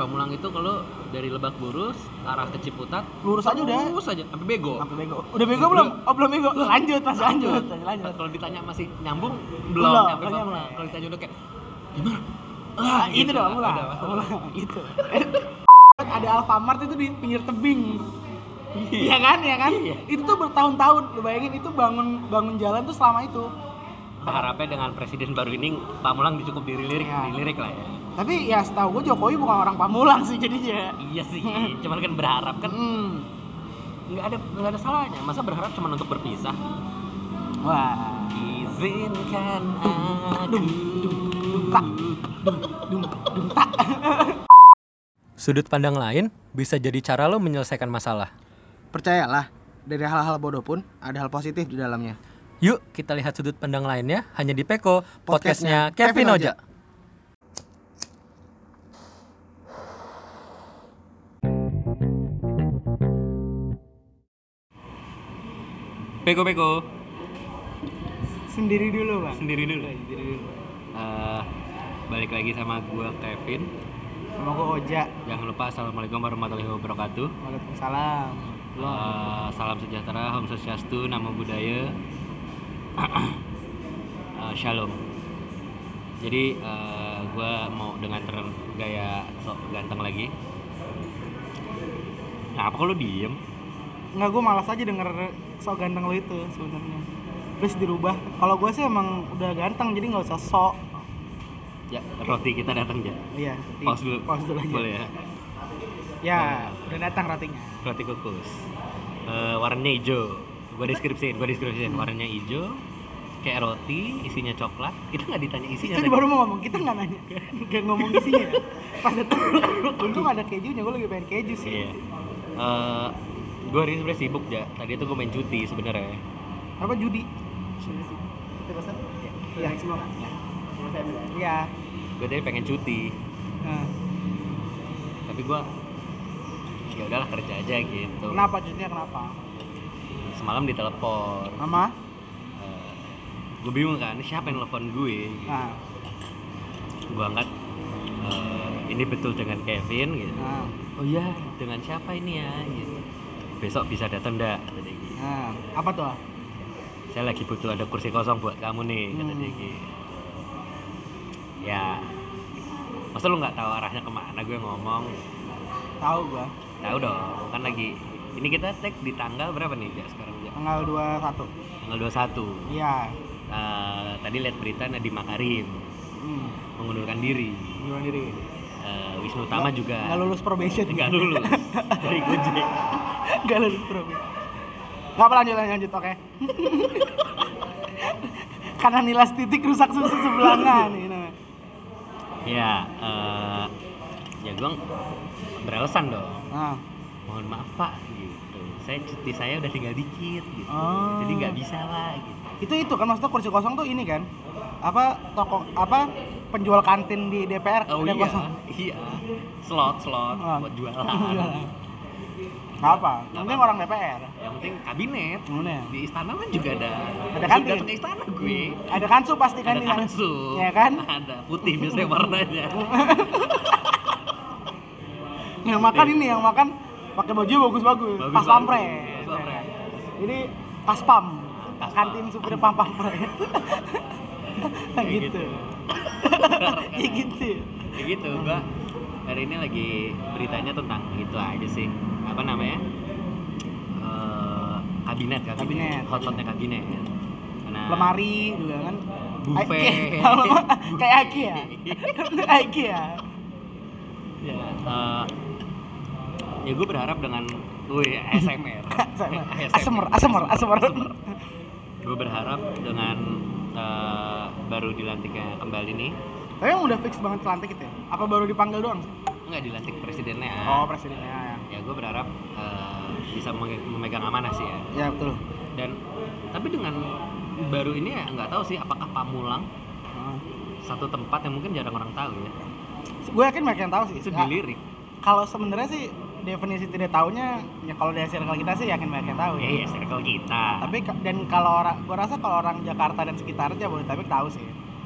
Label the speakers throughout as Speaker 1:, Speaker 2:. Speaker 1: Pamulang itu kalau dari Lebak Bulus arah ke Ciputat
Speaker 2: Lurus aja udah.
Speaker 1: lurus aja sampai bego.
Speaker 2: Sampai bego. Udah bego belum? Oh, belum bego. Lanjut, Mas, lanjut. Lanjut. lanjut.
Speaker 1: Nah, Kalau ditanya masih nyambung belum,
Speaker 2: Belum,
Speaker 1: nyampe
Speaker 2: belum
Speaker 1: Pamulang.
Speaker 2: nyambung.
Speaker 1: Kalau ditanya udah kayak
Speaker 2: Ah,
Speaker 1: gitu
Speaker 2: itu dong,
Speaker 1: lah,
Speaker 2: ulang.
Speaker 1: udah, Mas.
Speaker 2: Ulang, gitu. Ada Alfamart itu di pinggir tebing. Iya kan, ya kan?
Speaker 1: Iya.
Speaker 2: Itu tuh bertahun-tahun. Lu bayangin itu bangun bangun jalan tuh selama itu.
Speaker 1: harapnya dengan presiden baru ini Pamulang cukup dilirik
Speaker 2: Ya.
Speaker 1: dilirik lah ya.
Speaker 2: Tapi ya setahu gue Jokowi bukan orang Pamulang sih jadinya.
Speaker 1: Iya sih, cuman kan berharap kan
Speaker 2: Hmm.
Speaker 1: nggak ada nggak ada salahnya. Masa berharap cuma untuk berpisah?
Speaker 2: Wah.
Speaker 1: Izinkan aku.
Speaker 2: tak. Dum, dum, dum, tak.
Speaker 1: Sudut pandang lain bisa jadi cara lo menyelesaikan masalah.
Speaker 2: Percayalah, dari hal-hal bodoh pun ada hal positif di dalamnya.
Speaker 1: Yuk kita lihat sudut pandang lainnya hanya di Peko,
Speaker 2: podcastnya Kevin Oja.
Speaker 1: Peko Peko
Speaker 2: Sendiri dulu, Bang.
Speaker 1: sendiri dulu. Eh, balik lagi sama gua Kevin.
Speaker 2: Sama gue Oja.
Speaker 1: Jangan lupa assalamualaikum warahmatullahi wabarakatuh.
Speaker 2: Waalaikumsalam.
Speaker 1: Eh, salam sejahtera, Om Swastiastu, Namo Buddhaya. Eh, shalom. Jadi gue mau dengan ter- gaya sok ganteng lagi. Nah, apa kalau diem?
Speaker 2: Nggak, gue malas aja denger sok ganteng lo itu sebenarnya. Please dirubah. Kalau gue sih emang udah ganteng, jadi nggak usah sok.
Speaker 1: Ya, roti kita datang ya.
Speaker 2: Iya. di-
Speaker 1: Pause dulu.
Speaker 2: Pause dulu aja.
Speaker 1: Boleh ya.
Speaker 2: Ya, udah datang rotinya.
Speaker 1: Roti kukus. Eh, warnanya hijau. Gue deskripsiin, gue deskripsiin. Warnanya hijau, kayak roti, isinya coklat. Kita nggak ditanya isinya.
Speaker 2: Kita
Speaker 1: tadi.
Speaker 2: Kan baru mau ngomong, kita nggak nanya. Nggak ngomong isinya. Pas datang, untung ada kejunya, gue lagi pengen keju sih.
Speaker 1: Iya. gue hari ini sebenarnya sibuk ya. Tadi itu gue main cuti sebenarnya.
Speaker 2: apa judi kita Iya pesan ya semua kan ya
Speaker 1: Gue tadi pengen cuti,
Speaker 2: Nah,
Speaker 1: tapi gue ya udahlah kerja aja gitu.
Speaker 2: kenapa cutinya kenapa
Speaker 1: Semalam ditelepon.
Speaker 2: mama
Speaker 1: gue bingung kan, siapa yang telepon gue?
Speaker 2: nah,
Speaker 1: Gue angkat. eh, ini betul dengan Kevin gitu.
Speaker 2: nah
Speaker 1: Oh iya, dengan siapa ini ya? Gitu. Besok bisa datang enggak? Kata dia gitu.
Speaker 2: nah apa tuh
Speaker 1: Saya lagi butuh ada kursi kosong buat kamu nih, kata dia
Speaker 2: Hmm.
Speaker 1: gitu. Ya, masa lu nggak tahu arahnya kemana gue ngomong?
Speaker 2: tahu gua
Speaker 1: Tahu dong, kan lagi ini kita tag di tanggal berapa nih Ja sekarang Ja?
Speaker 2: tanggal 21
Speaker 1: Tanggal 21.
Speaker 2: iya
Speaker 1: Eh, tadi lihat berita Nadiem Makarim
Speaker 2: hmm.
Speaker 1: mengundurkan diri.
Speaker 2: gimana diri
Speaker 1: Eh, Wisnu Tama juga
Speaker 2: nggak lulus probation
Speaker 1: nggak lulus dari Gojek.
Speaker 2: nggak lulus probation nggak apa lanjut lanjut lanjut, oke karena nilas titik rusak susu sebelahnya nih nah. namanya.
Speaker 1: Ya, eh ya gue beralasan dong.
Speaker 2: nah
Speaker 1: mohon maaf pak gitu saya cuti saya udah tinggal dikit gitu
Speaker 2: Oh.
Speaker 1: jadi nggak bisa lah gitu
Speaker 2: itu itu kan maksudnya kursi kosong tuh ini kan apa toko apa penjual kantin di DPR
Speaker 1: oh
Speaker 2: ada
Speaker 1: iya
Speaker 2: kosong
Speaker 1: iya slot slot
Speaker 2: Ah.
Speaker 1: buat jualan
Speaker 2: Nggak apa
Speaker 1: Nggak
Speaker 2: mungkin
Speaker 1: apa.
Speaker 2: orang DPR
Speaker 1: yang penting kabinet
Speaker 2: Bener.
Speaker 1: di istana kan juga ada
Speaker 2: Ada
Speaker 1: Sudah
Speaker 2: kantin.
Speaker 1: datang ke istana gue
Speaker 2: ada kansu pasti kan
Speaker 1: ada
Speaker 2: di sana.
Speaker 1: kansu Ah.
Speaker 2: ya kan Iya.
Speaker 1: ada putih biasanya warnanya
Speaker 2: yang makan ini yang makan pakai baju bagus-bagus
Speaker 1: Bagus,
Speaker 2: pas
Speaker 1: bagus.
Speaker 2: pampres
Speaker 1: Pas pampres.
Speaker 2: jadi pas pam
Speaker 1: Pas
Speaker 2: kantin supir pam pampres
Speaker 1: Kayak
Speaker 2: gitu
Speaker 1: gitu.
Speaker 2: ya gitu
Speaker 1: kayak gitu gua hari ini lagi beritanya tentang itu aja sih apa namanya Eh, kabinet kabinet,
Speaker 2: Kabinet.
Speaker 1: hot hotnya kabinet Nah, Karena-
Speaker 2: lemari juga kan
Speaker 1: Buffet.
Speaker 2: kayak IKEA IKEA Iya.
Speaker 1: ya, eh, ya gue berharap dengan wih ASMR
Speaker 2: Asemer, asemer, asemer.
Speaker 1: gue berharap dengan eh, baru dilantiknya kembali nih
Speaker 2: Tapi emang udah fix banget lantik itu ya? Apa baru dipanggil
Speaker 1: Eh.
Speaker 2: doang? sih?
Speaker 1: nggak dilantik presidennya
Speaker 2: Oh, presidennya.
Speaker 1: ya gue berharap eh, bisa menge- memegang amanah sih ya
Speaker 2: Ya betul.
Speaker 1: dan tapi dengan baru ini ya nggak tahu sih apakah Pamulang
Speaker 2: Nah.
Speaker 1: satu tempat yang mungkin jarang orang tahu ya
Speaker 2: Gue yakin banyak yang tahu sih.
Speaker 1: itu
Speaker 2: Ya,
Speaker 1: dilirik
Speaker 2: Kalau sebenarnya sih definisi tidak tahunya ya kalau dari circle kita sih yakin banyak yang tahu
Speaker 1: ya
Speaker 2: ya.
Speaker 1: ya circle kita
Speaker 2: Tapi ka- dan kalau orang gue rasa kalau orang Jakarta dan sekitarnya Jabodetabek tahu sih.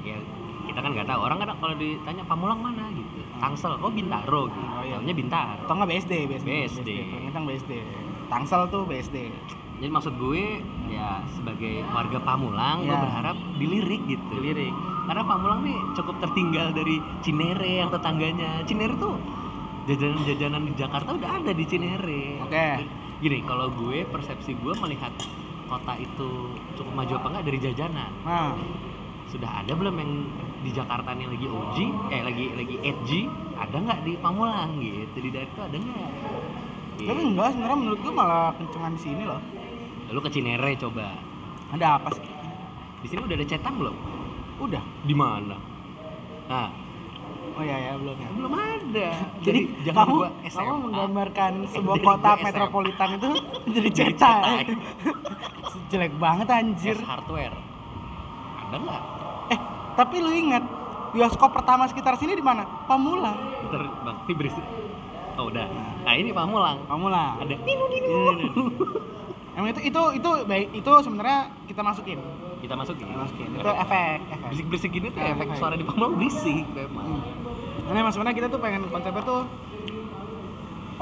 Speaker 1: ya kita kan nggak tahu orang kan kalau ditanya Pamulang mana gitu Tangsel oh Bintaro gitu
Speaker 2: Hmm. Oh, iya.
Speaker 1: Taunya Bintaro
Speaker 2: atau nggak BSD BSD
Speaker 1: BSD.
Speaker 2: Keringetan BSD Tangsel tuh BSD
Speaker 1: jadi maksud gue ya sebagai warga Pamulang gue
Speaker 2: Iya.
Speaker 1: berharap dilirik gitu
Speaker 2: lirik
Speaker 1: karena Pamulang nih cukup tertinggal dari Cinere yang tetangganya Cinere tuh jajanan-jajanan di Jakarta udah ada di Cinere
Speaker 2: Oke.
Speaker 1: gini kalau gue persepsi gue melihat kota itu cukup maju apa enggak dari jajanan
Speaker 2: nah
Speaker 1: sudah ada belum yang di Jakarta nih lagi OG eh lagi lagi edgy ada nggak di Pamulang gitu di daerah itu ada nggak Gitu.
Speaker 2: tapi enggak sebenarnya menurut gue malah kencengan di sini loh
Speaker 1: lu ke Cinere coba
Speaker 2: ada apa sih
Speaker 1: di sini udah ada cetan belum
Speaker 2: udah
Speaker 1: di mana nah
Speaker 2: oh iya ya belum ya
Speaker 1: belum ada
Speaker 2: jadi
Speaker 1: jangan
Speaker 2: kamu
Speaker 1: gua SMA.
Speaker 2: kamu menggambarkan sebuah
Speaker 1: Jadi
Speaker 2: kota
Speaker 1: gua SMA.
Speaker 2: metropolitan itu jadi
Speaker 1: Jadi
Speaker 2: cetak
Speaker 1: cetak.
Speaker 2: jelek banget anjir
Speaker 1: S hardware ada nggak
Speaker 2: eh tapi lu ingat bioskop pertama sekitar sini di mana Pamulang
Speaker 1: ntar bang ini berisik oh udah nah ini Pamulang
Speaker 2: Pamulang
Speaker 1: ada dinu dinu
Speaker 2: emang itu itu itu baik itu sebenarnya kita masukin
Speaker 1: kita masukin
Speaker 2: kita Iya, masukin itu efek efek
Speaker 1: berisik berisik gini tuh
Speaker 2: Efek.
Speaker 1: efek suara di Pamulang berisik memang
Speaker 2: Hmm. Karena emang sebenarnya kita tuh pengen konsepnya tuh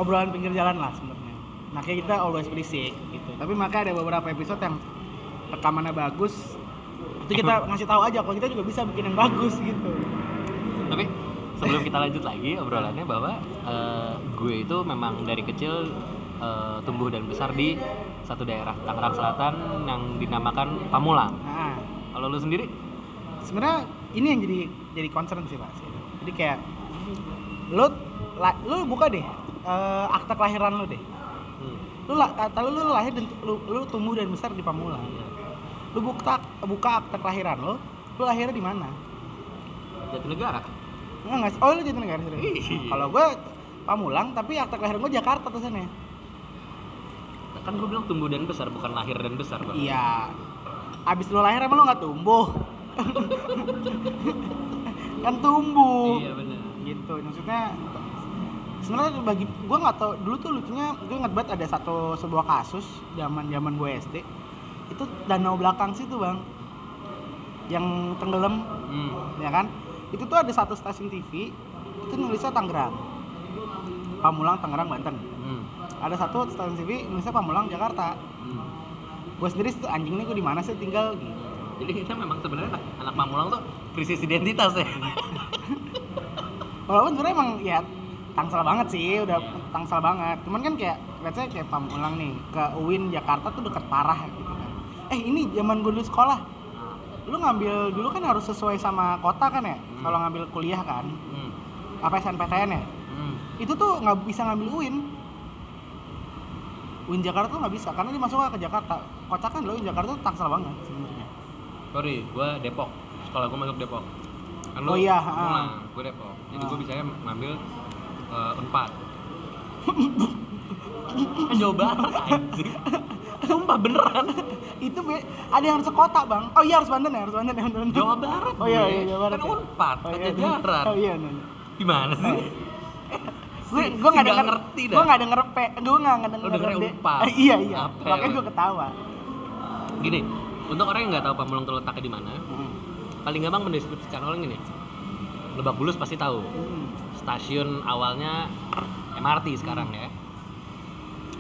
Speaker 2: obrolan pinggir jalan lah sebenarnya. Makanya kita always berisik gitu. Tapi makanya ada beberapa episode yang rekamannya bagus. Itu kita ngasih tahu aja kalau kita juga bisa bikin yang bagus gitu.
Speaker 1: tapi sebelum kita lanjut lagi obrolannya bahwa eh, gue itu memang dari kecil eh, tumbuh dan besar di satu daerah Tangerang Selatan yang dinamakan Pamulang.
Speaker 2: Nah,
Speaker 1: Kalau lu sendiri
Speaker 2: sebenarnya ini yang jadi jadi concern sih, Pak. Jadi kayak lu la- lu buka deh eh, akta kelahiran lu deh.
Speaker 1: Hmm,
Speaker 2: Lu la- kata lu, lu lahir dan lu, lu tumbuh dan besar di Pamulang.
Speaker 1: iya.
Speaker 2: Lu buka buka akta kelahiran lu, lu lahirnya di mana?
Speaker 1: Jatinegara.
Speaker 2: Enggak nggak sih? Oh, lu Jatinegara sih.
Speaker 1: Iya.
Speaker 2: Nah, Kalau gua Pamulang tapi akta kelahiran gua Jakarta tulisannya.
Speaker 1: Kan gue bilang tumbuh dan besar bukan lahir dan besar, Bang.
Speaker 2: Iya. Abis lu lahir emang lu nggak tumbuh. kan tumbuh.
Speaker 1: Iya, benar.
Speaker 2: Gitu. Maksudnya sebenarnya bagi gua nggak tau dulu tuh lucunya gue ingat banget ada satu sebuah kasus zaman zaman gue SD itu danau belakang situ bang yang tenggelam
Speaker 1: Hmm.
Speaker 2: ya kan itu tuh ada satu stasiun TV itu nulisnya Tangerang Pamulang Tangerang Banten
Speaker 1: Hmm.
Speaker 2: ada satu stasiun TV nulisnya Pamulang Jakarta
Speaker 1: Hmm.
Speaker 2: gue sendiri situ anjing nih gue di mana sih tinggal gitu
Speaker 1: Jadi kita memang sebenarnya anak, anak Pamulang tuh krisis identitas ya.
Speaker 2: Hmm. walaupun sebenarnya emang ya tangsel banget sih udah
Speaker 1: Iya.
Speaker 2: tangsel banget cuman kan kayak let's say kayak Pamulang nih ke UIN Jakarta tuh deket parah gitu kan eh ini zaman gue dulu sekolah
Speaker 1: Ah,
Speaker 2: lu ngambil dulu kan harus sesuai sama kota kan ya kalau ngambil kuliah kan
Speaker 1: Hmm.
Speaker 2: apa SNPTN ya
Speaker 1: Hmm.
Speaker 2: itu tuh nggak bisa ngambil UIN UIN Jakarta tuh nggak bisa karena dia masuk ke Jakarta kota kan loh UIN Jakarta tuh tangsel banget sebenarnya
Speaker 1: Sorry, gue Depok. Sekolah gue masuk Depok. Kan
Speaker 2: Oh iya, Ah. ha.
Speaker 1: gue Depok. Jadi
Speaker 2: Ha.
Speaker 1: gue bisa ngambil eh, empat. kan jauh banget anjing. Sumpah beneran.
Speaker 2: itu be- ada yang harus ke kota bang oh iya harus Banten ya harus Banten ya Banten.
Speaker 1: Jawa Barat.
Speaker 2: oh iya
Speaker 1: gue.
Speaker 2: iya Jawa Barat
Speaker 1: Kan
Speaker 2: ya.
Speaker 1: unpad,
Speaker 2: Oh, iya,
Speaker 1: Pajajaran.
Speaker 2: oh iya Ah. bener.
Speaker 1: Gimana sih?
Speaker 2: gue
Speaker 1: Si- si
Speaker 2: gue nggak
Speaker 1: nggak
Speaker 2: denger
Speaker 1: ngerti dah.
Speaker 2: gue nggak denger p gue nggak nggak denger
Speaker 1: Lu dengernya
Speaker 2: D-
Speaker 1: unpad.
Speaker 2: Eh, iya iya
Speaker 1: Apa ya,
Speaker 2: makanya
Speaker 1: lu?
Speaker 2: gue ketawa
Speaker 1: Gini, untuk orang yang nggak tahu Pamulang terletaknya di mana, paling gampang mendeskripsikan orang gini. Lebak Bulus pasti tahu.
Speaker 2: Hmm.
Speaker 1: stasiun awalnya MRT sekarang ya.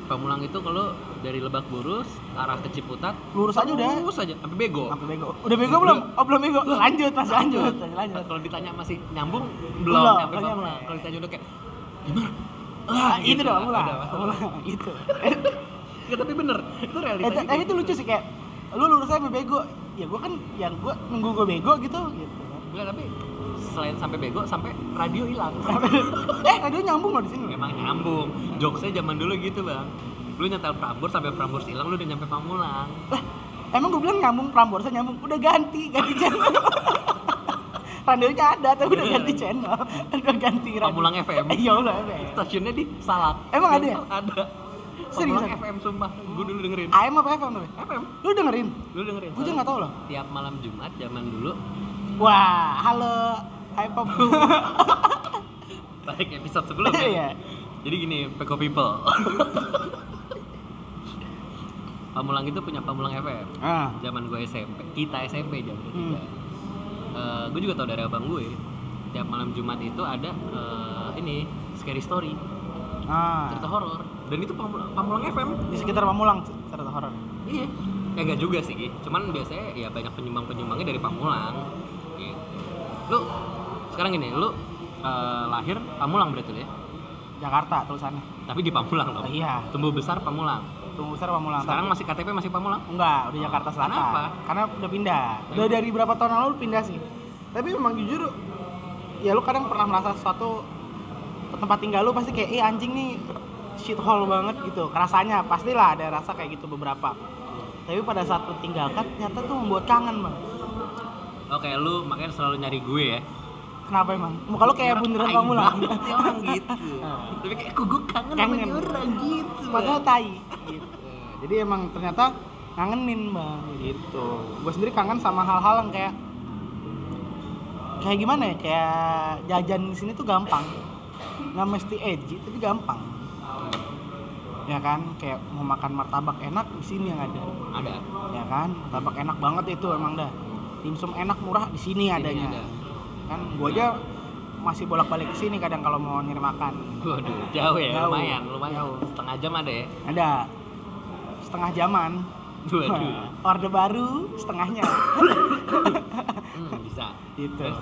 Speaker 1: Pamulang itu kalau dari Lebak Bulus arah ke Ciputat
Speaker 2: lurus aja udah
Speaker 1: terus aja sampai bego.
Speaker 2: sampai bego udah bego belum oh belum bego lanjut mas lanjut lanjut, lanjut.
Speaker 1: Kalau ditanya masih nyambung belum,
Speaker 2: Belum,
Speaker 1: nyampe
Speaker 2: belum
Speaker 1: Pamulang.
Speaker 2: nyampe.
Speaker 1: Kalau ditanya udah kayak
Speaker 2: Ah,
Speaker 1: gitu
Speaker 2: itu
Speaker 1: lah,
Speaker 2: dong
Speaker 1: udah, Mas.
Speaker 2: lah, gitu.
Speaker 1: ya tapi bener itu
Speaker 2: Eh,
Speaker 1: realitanya.
Speaker 2: ta- tapi itu lucu sih kayak lu lurus aja sampai bego. Ya gua kan yang gua nunggu gua bego gitu gitu.
Speaker 1: Enggak, tapi selain sampai bego sampai radio hilang.
Speaker 2: eh, radio nyambung loh di sini.
Speaker 1: Emang nyambung. Jokesnya zaman dulu gitu, Bang. Lu nyetel Prambors sampai Prambors hilang lu udah nyampe Pamulang.
Speaker 2: Lah, emang gua bilang nyambung Prambors nyambung. Udah ganti, ganti channel. Radionya ada tapi udah ganti
Speaker 1: Iya.
Speaker 2: channel. Udah ganti radio.
Speaker 1: Pamulang FM.
Speaker 2: Eh, ya Allah. emang.
Speaker 1: Stasiunnya di Salak.
Speaker 2: Emang ada ya?
Speaker 1: Ada.
Speaker 2: Seriusan?
Speaker 1: Pamulang FM sumpah. Gue dulu dengerin.
Speaker 2: AM apa FM tapi?
Speaker 1: FM.
Speaker 2: Lu dengerin?
Speaker 1: Lu dengerin.
Speaker 2: Gua juga
Speaker 1: soalnya
Speaker 2: nggak tahu loh.
Speaker 1: Tiap malam Jumat zaman dulu
Speaker 2: Wah, halo. Hai Pop.
Speaker 1: balik episode sebelum
Speaker 2: Iya.
Speaker 1: ya. Jadi gini, Peko People. Pamulang itu punya Pamulang FM.
Speaker 2: ah.
Speaker 1: Zaman gue SMP, kita SMP zaman
Speaker 2: Hmm.
Speaker 1: ya. kita. gue juga tau dari abang gue. Tiap malam Jumat itu ada eh, ini scary story
Speaker 2: Ah,
Speaker 1: cerita horor dan itu Pamulang, Pamulang FM
Speaker 2: di sekitar Pamulang cerita horor.
Speaker 1: iya ya nggak juga sih Gi. cuman biasanya ya banyak penyumbang penyumbangnya dari Pamulang gitu. lu sekarang gini lu eh, lahir Pamulang berarti lu ya
Speaker 2: Jakarta tulisannya.
Speaker 1: tapi di Pamulang loh
Speaker 2: Oh, iya,
Speaker 1: tumbuh besar Pamulang
Speaker 2: tumbuh besar Pamulang.
Speaker 1: sekarang masih KTP masih Pamulang
Speaker 2: Enggak, udah Jakarta Selatan.
Speaker 1: Kenapa?
Speaker 2: Karena udah pindah. Udah dari berapa tahun lalu pindah sih. Tapi memang jujur, ya lu kadang pernah merasa sesuatu tempat tinggal lu pasti kayak, eh anjing nih shithole banget gitu. Rasanya pastilah ada rasa kayak gitu beberapa. Tapi pada saat lu tinggalkan, ternyata tuh membuat kangen bang.
Speaker 1: oke lu makanya selalu nyari gue ya
Speaker 2: Kenapa emang? Muka lu kayak bunderan
Speaker 1: Tai
Speaker 2: kamu lah. Ah.
Speaker 1: banget ya orang gitu tapi kayak kok gue kangen, sama
Speaker 2: Kangen.
Speaker 1: dia orang gitu
Speaker 2: Padahal tai. Gitu. Jadi emang ternyata kangenin bang gitu. Gue sendiri kangen sama hal-hal yang kayak kayak gimana ya kayak jajan di sini tuh gampang nggak mesti edgy tapi gampang ya kan kayak mau makan martabak enak di sini yang ada
Speaker 1: ada
Speaker 2: ya kan martabak enak banget itu emang dah dimsum enak murah di sini adanya
Speaker 1: ada.
Speaker 2: kan gua aja masih bolak-balik ke sini kadang kalau mau nyari makan
Speaker 1: waduh jauh ya
Speaker 2: Jauh.
Speaker 1: lumayan lumayan
Speaker 2: Jauh.
Speaker 1: setengah jam ada ya
Speaker 2: ada setengah jaman Iya.
Speaker 1: waduh
Speaker 2: orde baru setengahnya
Speaker 1: hmm, bisa
Speaker 2: gitu
Speaker 1: Terus?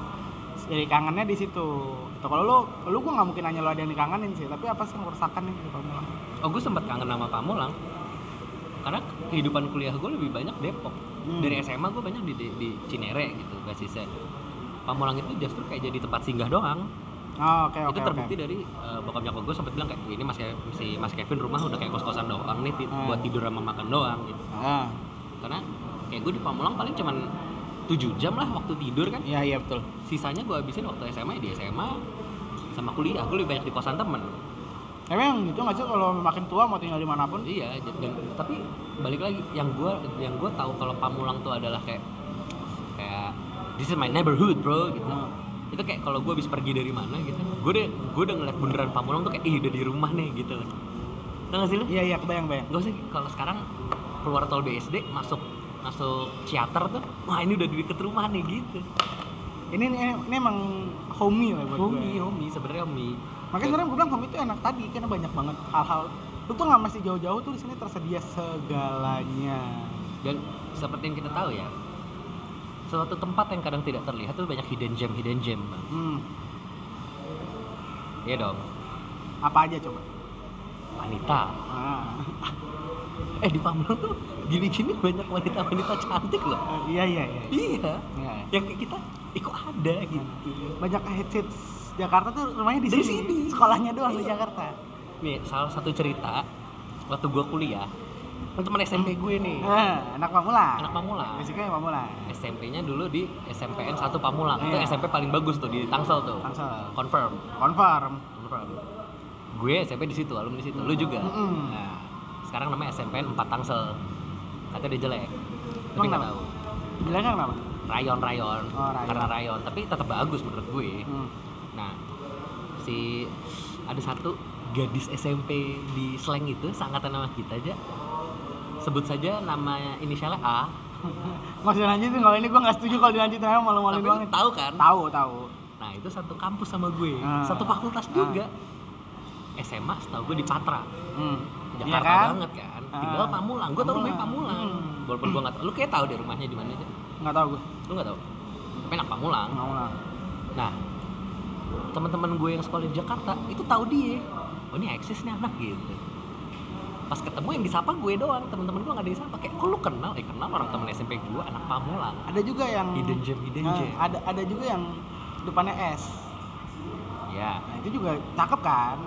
Speaker 2: jadi kangennya di situ Tuh, kalau lu lu gua nggak mungkin nanya lu ada yang dikangenin sih tapi apa sih yang kerusakan nih gitu, di Pamulang
Speaker 1: oh gue sempat kangen sama Pamulang karena kehidupan kuliah gue lebih banyak Depok
Speaker 2: Hmm.
Speaker 1: dari SMA gue banyak di, di, di Cinere gitu basisnya Pamulang itu justru kayak jadi tempat singgah doang
Speaker 2: oh, oke oke
Speaker 1: itu
Speaker 2: oke
Speaker 1: terbukti dari eh, bokap nyokap gue sempat bilang kayak ini mas Ke- si mas Kevin rumah udah kayak kos kosan doang nih ti-
Speaker 2: Hmm.
Speaker 1: buat tidur sama makan doang gitu
Speaker 2: ah
Speaker 1: karena kayak gue di Pamulang paling cuman 7 jam lah waktu tidur kan
Speaker 2: iya iya betul
Speaker 1: sisanya gue habisin waktu SMA ya di SMA sama kuliah gue lebih banyak di kosan temen
Speaker 2: emang gitu nggak sih kalau makin tua mau tinggal dimanapun
Speaker 1: iya j- dan tapi balik lagi yang gue yang gue tahu kalau Pamulang tuh adalah kayak kayak this is my neighborhood bro gitu
Speaker 2: Hmm.
Speaker 1: itu kayak kalau gue habis pergi dari mana gitu gue udah gue udah ngeliat bundaran Pamulang tuh kayak ih udah di rumah nih gitu loh tau gak sih lu
Speaker 2: iya iya kebayang bayang
Speaker 1: gue sih kalau sekarang keluar tol BSD masuk masuk Ciater tuh wah ini udah di deket rumah nih gitu
Speaker 2: ini ini, ini emang homey lah buat gue.
Speaker 1: Homi, homi, sebenarnya homi.
Speaker 2: Makanya sebenarnya gue bilang home itu enak tadi karena banyak banget hal-hal lu tuh nggak masih jauh-jauh tuh di sini tersedia segalanya.
Speaker 1: Dan seperti yang kita tahu ya, suatu tempat yang kadang tidak terlihat tuh banyak hidden gem, hidden gem. Bang.
Speaker 2: Hmm,
Speaker 1: Iya dong.
Speaker 2: apa aja coba?
Speaker 1: Wanita.
Speaker 2: Ah,
Speaker 1: Eh di Pamulang tuh gini-gini banyak wanita-wanita cantik loh.
Speaker 2: eh, iya iya iya.
Speaker 1: Iya.
Speaker 2: Iya, iya.
Speaker 1: Yang kayak kita, eh kok ada gitu.
Speaker 2: Banyak headsets Jakarta tuh rumahnya di
Speaker 1: Di
Speaker 2: sini.
Speaker 1: sini.
Speaker 2: Sekolahnya doang di
Speaker 1: Iya.
Speaker 2: Jakarta.
Speaker 1: Nih salah satu cerita waktu gue kuliah, teman SMP gue nih,
Speaker 2: Ah, anak Pamulang.
Speaker 1: anak Pamulang.
Speaker 2: Basicnya yang Pamulang.
Speaker 1: SMP-nya dulu di SMPN 1 Pamulang. Itu
Speaker 2: Iya.
Speaker 1: SMP paling bagus tuh di Tangsel tuh.
Speaker 2: Tangsel.
Speaker 1: Confirm.
Speaker 2: Confirm.
Speaker 1: Confirm. Gue SMP di situ, alumni di situ. Lu juga.
Speaker 2: Mm-mm.
Speaker 1: Nah, sekarang namanya SMPN 4 Tangsel. Katanya dia jelek. Tapi
Speaker 2: Emang
Speaker 1: nggak
Speaker 2: kenapa?
Speaker 1: tahu.
Speaker 2: Bilang kan kenapa?
Speaker 1: Rayon, rayon.
Speaker 2: Oh, rayon.
Speaker 1: Karena rayon, tapi tetap bagus menurut gue.
Speaker 2: Hmm.
Speaker 1: Nah, si ada satu gadis SMP di Sleng itu, seangkatan nama kita aja. Sebut saja nama inisialnya A.
Speaker 2: Nggak usah lanjutin kalau ini gue nggak setuju kalau dilanjutin aja malu-maluin
Speaker 1: Tapi
Speaker 2: doang.
Speaker 1: lu tahu kan?
Speaker 2: Tahu tahu.
Speaker 1: Nah itu satu kampus sama gue,
Speaker 2: Ah.
Speaker 1: satu fakultas
Speaker 2: Ah.
Speaker 1: juga. SMA setahu gue di Patra,
Speaker 2: Hmm.
Speaker 1: Jakarta
Speaker 2: Iya kan?
Speaker 1: banget kan.
Speaker 2: Ah.
Speaker 1: Tinggal Pamulang, gue tau rumahnya
Speaker 2: Pamulang.
Speaker 1: Pamulang.
Speaker 2: Hmm.
Speaker 1: Walaupun gue nggak tau, lu kayak tau deh rumahnya di mana aja.
Speaker 2: Nggak tahu gue.
Speaker 1: Lu nggak tau? Tapi anak Pamulang.
Speaker 2: Nggak mau lah.
Speaker 1: Nah teman-teman gue yang sekolah di Jakarta itu tahu dia. Oh ini eksis nih anak gitu. Pas ketemu yang disapa gue doang, teman-teman gue nggak ada yang disapa. Kayak kok lu kenal? Eh kenal orang teman SMP gue anak Pamulang.
Speaker 2: Ada juga yang
Speaker 1: Hidden gem, hidden
Speaker 2: Nah,
Speaker 1: gem.
Speaker 2: ada ada juga yang depannya S.
Speaker 1: Ya,
Speaker 2: Nah, itu juga cakep kan?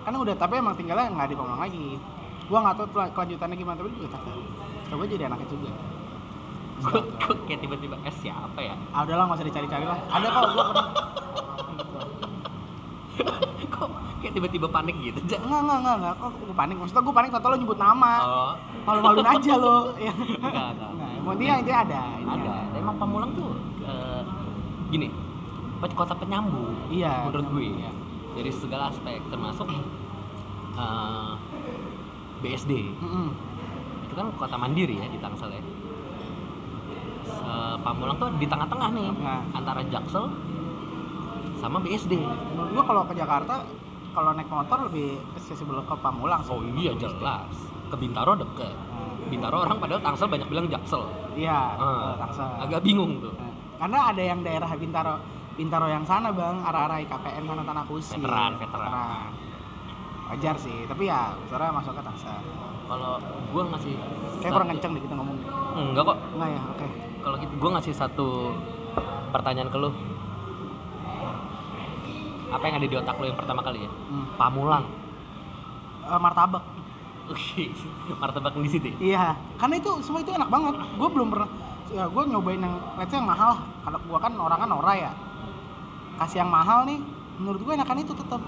Speaker 2: Karena udah tapi emang tinggalnya nggak di Pamulang lagi. Gua nggak tahu tel- kelanjutannya gimana tapi juga cakep. Coba jadi anaknya juga. Hmm.
Speaker 1: gue gue kayak tiba-tiba eh siapa ya?
Speaker 2: Ah udahlah nggak usah dicari-cari lah. Ada kok gua pernah.
Speaker 1: kok kayak tiba-tiba panik gitu aja
Speaker 2: Enggak enggak enggak enggak. Kok gua panik? Maksudnya gua panik tahu lo nyebut nama.
Speaker 1: oh
Speaker 2: Ah, Malu-maluin aja lo. Ya.
Speaker 1: enggak enggak
Speaker 2: Nah, intinya intinya ada. intinya
Speaker 1: ada emang Pamulang tuh eh, gini pe- kota penyambung
Speaker 2: Iya.
Speaker 1: menurut gue ya dari segala aspek termasuk eh, BSD
Speaker 2: Mm-mm.
Speaker 1: itu kan kota mandiri ya di Tangsel ya Se- Pamulang tuh di tengah-tengah nih
Speaker 2: Tengah.
Speaker 1: antara Jaksel sama BSD.
Speaker 2: menurut gua kalau ke Jakarta kalau naik motor lebih accessible ke Pamulang sih.
Speaker 1: Oh iya jelas. Ke Bintaro deket.
Speaker 2: Nah,
Speaker 1: Bintaro orang padahal Tangsel banyak bilang Jaksel.
Speaker 2: iya
Speaker 1: Ah.
Speaker 2: ke Tangsel.
Speaker 1: Agak bingung tuh.
Speaker 2: Nah, karena ada yang daerah Bintaro Bintaro yang sana bang arah-arah IKPN sana tanah kusi
Speaker 1: Veteran, veteran.
Speaker 2: wajar sih tapi ya sekarang masuk ke Tangsel
Speaker 1: Kalau gua ngasih
Speaker 2: kayak
Speaker 1: satu-
Speaker 2: kurang kenceng deh kita ngomong
Speaker 1: Enggak kok.
Speaker 2: enggak ya oke
Speaker 1: Kalau gitu gua ngasih satu pertanyaan ke lu. Apa yang ada di otak lu yang pertama kali ya?
Speaker 2: Hmm.
Speaker 1: Pamulang.
Speaker 2: Eh, martabak
Speaker 1: Oke. Martabak di situ.
Speaker 2: iya karena itu semua itu enak banget gue belum pernah ya, gue nyobain yang let's say yang mahal lah kalau gue kan orang kan ora ya kasih yang mahal nih menurut gue enakan itu tetap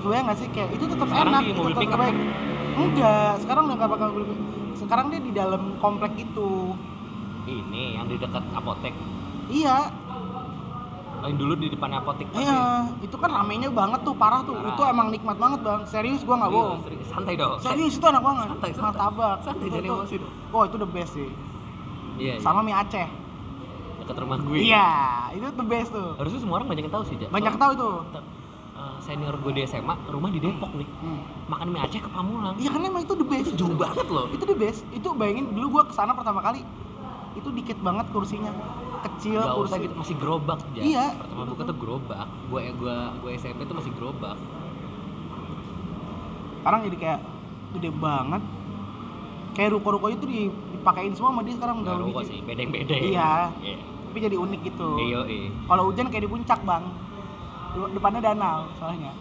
Speaker 2: gue nggak sih kayak itu tetap
Speaker 1: Sekarang
Speaker 2: enak
Speaker 1: di
Speaker 2: itu
Speaker 1: mobil
Speaker 2: tetap
Speaker 1: pickup. kan?
Speaker 2: baik. enggak sekarang udah nggak bakal mobil pickup. sekarang dia di dalam komplek itu
Speaker 1: Ini yang di dekat apotek.
Speaker 2: iya
Speaker 1: Oh, Yang dulu di depan apotek pasti.
Speaker 2: iya itu kan ramenya banget tuh parah tuh
Speaker 1: Parah.
Speaker 2: itu emang nikmat banget bang serius gue nggak bohong
Speaker 1: Serius, serius. Santai dong.
Speaker 2: serius itu enak banget
Speaker 1: Santai, santai.
Speaker 2: martabak
Speaker 1: Santai,
Speaker 2: Itu
Speaker 1: jangan
Speaker 2: tuh-
Speaker 1: emosi dong.
Speaker 2: oh itu the best sih
Speaker 1: Iya. iya.
Speaker 2: sama mie Aceh
Speaker 1: Dekat rumah gue.
Speaker 2: Iya, itu the best tuh.
Speaker 1: Harusnya semua orang banyak yang tahu sih, Jak.
Speaker 2: Banyak tahu itu.
Speaker 1: Soalnya, eh, senior gue di SMA, rumah di Depok nih.
Speaker 2: Hmm.
Speaker 1: Makan mie Aceh ke Pamulang.
Speaker 2: Iya karena emang itu the best.
Speaker 1: Itu jauh banget loh.
Speaker 2: Itu the best. Itu bayangin dulu gua kesana pertama kali. Itu dikit banget kursinya. Kecil
Speaker 1: Gak usah
Speaker 2: kursi.
Speaker 1: gitu, masih gerobak aja.
Speaker 2: Iya.
Speaker 1: Pertama buka tuh gerobak. Gua eh, gua gua SMP tuh masih gerobak.
Speaker 2: Sekarang jadi kayak gede banget. Kayak ruko-ruko itu di- dipakein semua sama dia sekarang
Speaker 1: Enggak
Speaker 2: gaun
Speaker 1: rokok
Speaker 2: hijau.
Speaker 1: sih, bedeng-bedeng.
Speaker 2: Iya.
Speaker 1: Iya.
Speaker 2: Tapi jadi unik gitu.
Speaker 1: Iya, iya.
Speaker 2: Kalau hujan kayak di puncak, Bang. Lu- Depannya danau soalnya.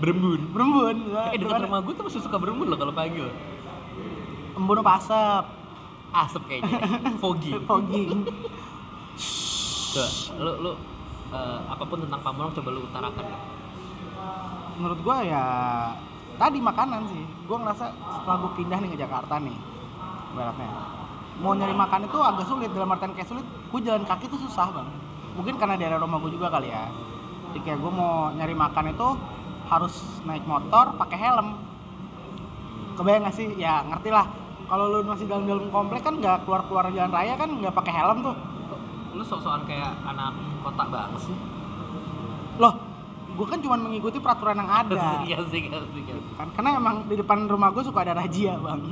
Speaker 1: Berembun.
Speaker 2: Berembun.
Speaker 1: Eh, dekat
Speaker 2: depannya.
Speaker 1: rumah gue tuh masih suka berembun loh kalau pagi loh.
Speaker 2: Embun pasep,
Speaker 1: Asap kayaknya. Foggy.
Speaker 2: fogging.
Speaker 1: Coba, lu lu eh, apapun tentang Pamulang coba lu utarakan deh.
Speaker 2: menurut gua ya tadi makanan sih gua ngerasa setelah gua pindah nih ke Jakarta nih ibaratnya mau nyari makan itu agak sulit dalam artian kayak sulit gua jalan kaki tuh susah bang mungkin karena daerah rumah gua juga kali ya jadi kayak gua mau nyari makan itu harus naik motor pakai helm kebayang gak sih ya ngerti lah kalau lu masih dalam-dalam komplek kan nggak keluar-keluar jalan raya kan nggak pakai helm tuh
Speaker 1: Kok Lu sok-sokan kayak anak kota banget sih.
Speaker 2: loh gua kan cuma mengikuti peraturan yang ada
Speaker 1: Iya sih, iya sih, iya sih.
Speaker 2: kan karena emang di depan rumah gue suka ada razia bang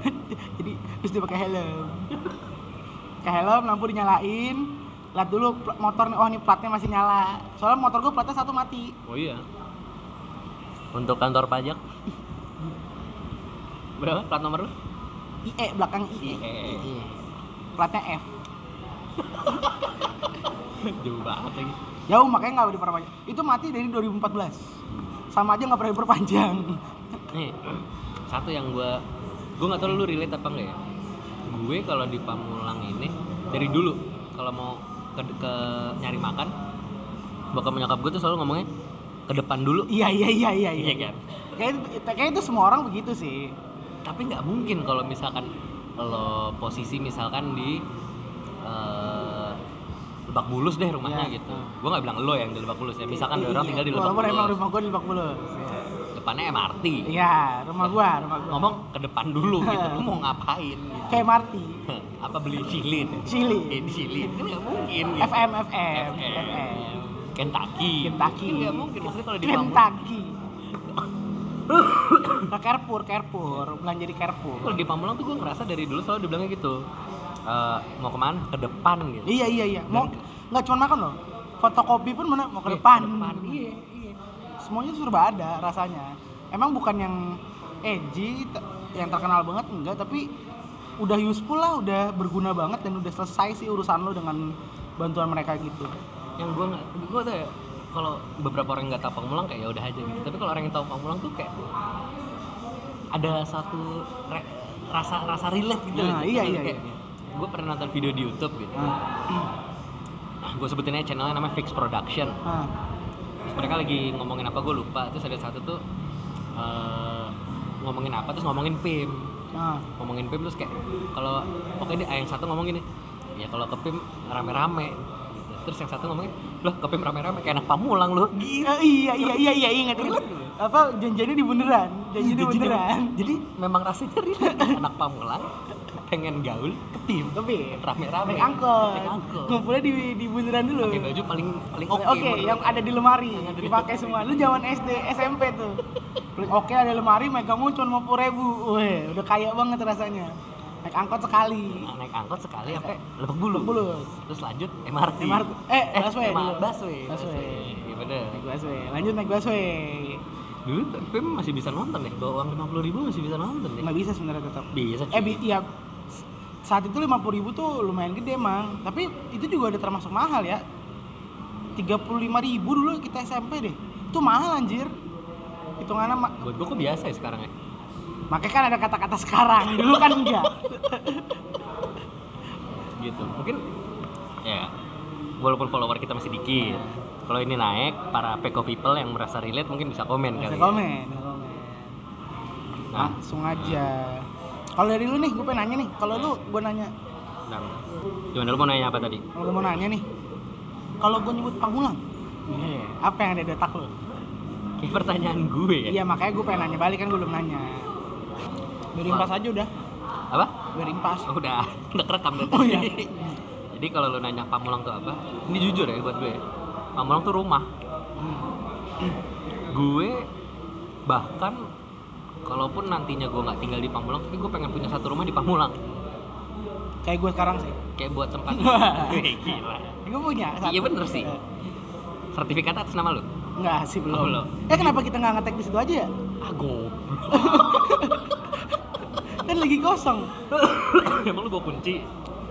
Speaker 2: jadi terus dia pakai helm pakai helm lampu dinyalain lihat dulu pl- motor nih oh nih platnya masih nyala soalnya motor gue platnya satu mati
Speaker 1: Oh iya. Untuk kantor pajak berapa plat nomor lu? E
Speaker 2: IE E, belakang IE,
Speaker 1: IE.
Speaker 2: IE. platnya F
Speaker 1: Jauh banget lagi.
Speaker 2: jauh makanya nggak diperpanjang itu mati dari 2014 sama aja nggak pernah diperpanjang
Speaker 1: Nih, satu yang gua gua nggak tahu lu relate apa enggak ya. Gue kalau di Pamulang ini dari dulu kalau mau ke, ke nyari makan bokap nyokap gue tuh selalu ngomongnya ke depan dulu.
Speaker 2: iya iya iya iya iya
Speaker 1: Iya kan?
Speaker 2: kayak kayak itu semua orang begitu sih
Speaker 1: Tapi nggak mungkin kalau misalkan lo posisi misalkan di eh, Lebak Bulus deh rumahnya
Speaker 2: Iya.
Speaker 1: gitu. Gua nggak bilang lo yang di Lebak Bulus ya. Misalkan ada orang tinggal di Lebak
Speaker 2: Walaupun emang
Speaker 1: Bulus.
Speaker 2: rumah gue di Lebak Bulus
Speaker 1: Depannya MRT.
Speaker 2: iya rumah gue rumah gue
Speaker 1: Ngomong ke depan dulu gitu. Lu mau ngapain gitu.
Speaker 2: kayak Marti
Speaker 1: apa beli cilin
Speaker 2: Chili.
Speaker 1: Eh, di cilin kan nggak mungkin gitu.
Speaker 2: FM FM
Speaker 1: FM. Kentucky
Speaker 2: Kentucky.
Speaker 1: Kan nggak mungkin maksudnya kalau di Pamulang
Speaker 2: Kentucky ke Carrefour Carrefour belanja di Carrefour
Speaker 1: kalau di Pamulang tuh gue ngerasa dari dulu selalu dibilangnya gitu Eh, mau kemana ke depan gitu
Speaker 2: iya iya iya mau nggak cuma makan loh fotokopi pun mana mau
Speaker 1: Eh,
Speaker 2: ke depan,
Speaker 1: iya iya
Speaker 2: semuanya serba ada rasanya emang bukan yang edgy te- yang terkenal banget enggak tapi udah useful lah udah berguna banget dan udah selesai sih urusan lo dengan bantuan mereka gitu
Speaker 1: yang gue nggak gue tuh ya, kalau beberapa orang yang nggak tahu Pamulang kayak ya udah aja gitu tapi kalau orang yang tahu Pamulang tuh kayak ada satu re- rasa rasa relate gitu
Speaker 2: Nah, iya, iya, iya.
Speaker 1: gue pernah nonton video di YouTube gitu
Speaker 2: nah,
Speaker 1: gue sebutin aja channelnya namanya Fix Production
Speaker 2: nah,
Speaker 1: terus mereka lagi ngomongin apa gue lupa terus ada satu tuh eh, ngomongin apa terus ngomongin PIM
Speaker 2: nah.
Speaker 1: ngomongin PIM terus kayak kalau pokoknya dia- yang satu ngomongin nih ya kalau ke PIM rame-rame gitu. terus yang satu ngomongin loh ke PIM rame-rame kayak anak pamulang loh
Speaker 2: Iya iya iya iya iya ingat ingat. Apa janjinya di bundaran? Janji di
Speaker 1: Gitu, Jadi-
Speaker 2: bundaran.
Speaker 1: jadi memang rasanya relate anak pamulang pengen gaul ke PIM
Speaker 2: tapi
Speaker 1: rame-rame
Speaker 2: naik angkot
Speaker 1: Naik angkot.
Speaker 2: ngumpulnya di di bundaran dulu
Speaker 1: pakai baju paling paling oke
Speaker 2: Oke, ya, yang ada di lemari
Speaker 1: Yang ada di
Speaker 2: dipakai
Speaker 1: lemari.
Speaker 2: semua. Lu zaman SD, SMP tuh. Beli Oke ada lemari, megangmu cuma mau ribu. Weh, udah kaya banget rasanya. Naik angkot sekali.
Speaker 1: Nah, naik angkot sekali sampai lebak bulu
Speaker 2: Lebak Bulus.
Speaker 1: terus lanjut MRT
Speaker 2: MRT. Eh, busway
Speaker 1: MRT.
Speaker 2: dulu.
Speaker 1: busway
Speaker 2: Busway.
Speaker 1: Iya, bener.
Speaker 2: Naik busway. Lanjut naik busway.
Speaker 1: dulu tuh PIM masih bisa nonton ya bawa uang lima puluh ribu masih bisa nonton ya
Speaker 2: Nggak bisa sebenarnya tetap.
Speaker 1: bisa cuy.
Speaker 2: Eh, bi- iya. Saat itu 50 ribu tuh lumayan gede, Mang. Tapi itu juga udah termasuk mahal ya. 35 ribu dulu kita SMP deh. Itu mahal anjir. Hitungannya ma-
Speaker 1: buat gua kok biasa ya sekarang ya
Speaker 2: Makanya kan ada kata-kata sekarang, dulu kan enggak.
Speaker 1: gitu mungkin ya walaupun follower kita masih dikit kalau ini naik para peko people yang merasa relate mungkin bisa komen
Speaker 2: Bisa
Speaker 1: kali ya.
Speaker 2: komen, bisa komen.
Speaker 1: nah
Speaker 2: Langsung aja. Kalau dari lu nih, gue pengen nanya nih. Kalau lu, gue nanya.
Speaker 1: dan gimana lu mau nanya apa tadi
Speaker 2: Kalau gue mau nanya nih. Kalau gue nyebut Pangulang, apa yang ada di otak lu?
Speaker 1: kayak pertanyaan gue ya
Speaker 2: Iya, makanya gue pengen nanya balik kan gue belum nanya. Dari impas aja udah.
Speaker 1: apa
Speaker 2: Dari impas.
Speaker 1: Oh, udah udah kerekam dari
Speaker 2: Oh, iya.
Speaker 1: tadi. jadi kalau lu nanya pamulang tuh apa ini jujur ya buat gue ya. pamulang tuh rumah gue bahkan kalaupun nantinya gue nggak tinggal di pamulang tapi gue pengen punya satu rumah di pamulang
Speaker 2: Kayak gue sekarang sih.
Speaker 1: kayak buat tempat Wih, gila
Speaker 2: Gue punya. satu. Eh,
Speaker 1: Iya, bener sih. sertifikat atas nama lu
Speaker 2: Enggak sih belum.
Speaker 1: Oh, belum.
Speaker 2: Eh kenapa kita nggak ngetek di situ aja ya?
Speaker 1: ah goblok
Speaker 2: Kan lagi kosong.
Speaker 1: emang lu bawa kunci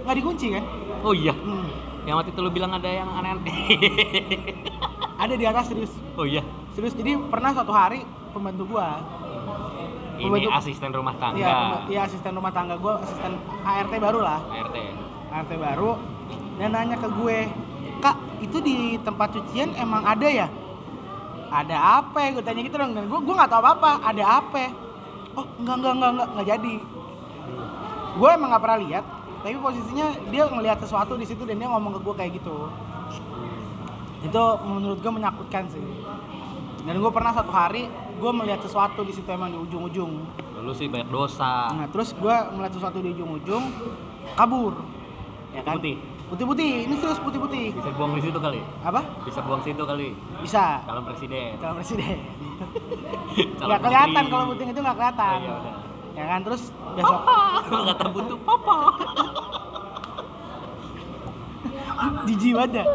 Speaker 2: Nggak dikunci kan?
Speaker 1: oh iya
Speaker 2: Hmm.
Speaker 1: yang waktu itu lu bilang ada yang aneh-aneh
Speaker 2: Ada di atas serius.
Speaker 1: oh iya
Speaker 2: Serius, jadi pernah suatu hari pembantu gua
Speaker 1: ini
Speaker 2: Pembantu-
Speaker 1: asisten rumah
Speaker 2: Iya, pemba-
Speaker 1: tangga
Speaker 2: iya asisten rumah tangga gue, asisten ART baru lah,
Speaker 1: ART
Speaker 2: ART baru. Dan nanya ke gue, kak itu di tempat cucian emang ada ya? Ada apa? ya?" Gue tanya gitu dong. Dan gue gue nggak tahu apa apa. Ada apa? Oh enggak enggak enggak enggak nggak jadi. Gue emang nggak pernah lihat. Tapi posisinya dia ngelihat sesuatu di situ dan dia ngomong ke gue kayak gitu. Itu menurut gue menakutkan sih. Dan gue pernah satu hari gue melihat sesuatu di situ emang di ujung-ujung.
Speaker 1: lu sih banyak dosa
Speaker 2: Nah, terus gua melihat sesuatu di ujung-ujung kabur. Ya kan?
Speaker 1: Putih.
Speaker 2: Putih-putih. Ini serius putih-putih.
Speaker 1: bisa buang di situ kali
Speaker 2: Apa?
Speaker 1: bisa buang situ kali
Speaker 2: Bisa.
Speaker 1: calon presiden
Speaker 2: Kalau presiden.
Speaker 1: Calon
Speaker 2: Nggak kelihatan
Speaker 1: menteri.
Speaker 2: kalau putih itu nggak
Speaker 1: oh,
Speaker 2: kelihatan.
Speaker 1: iya udah
Speaker 2: Ya kan? Terus besok
Speaker 1: Lu kata butuh papa
Speaker 2: jijik banget. dah.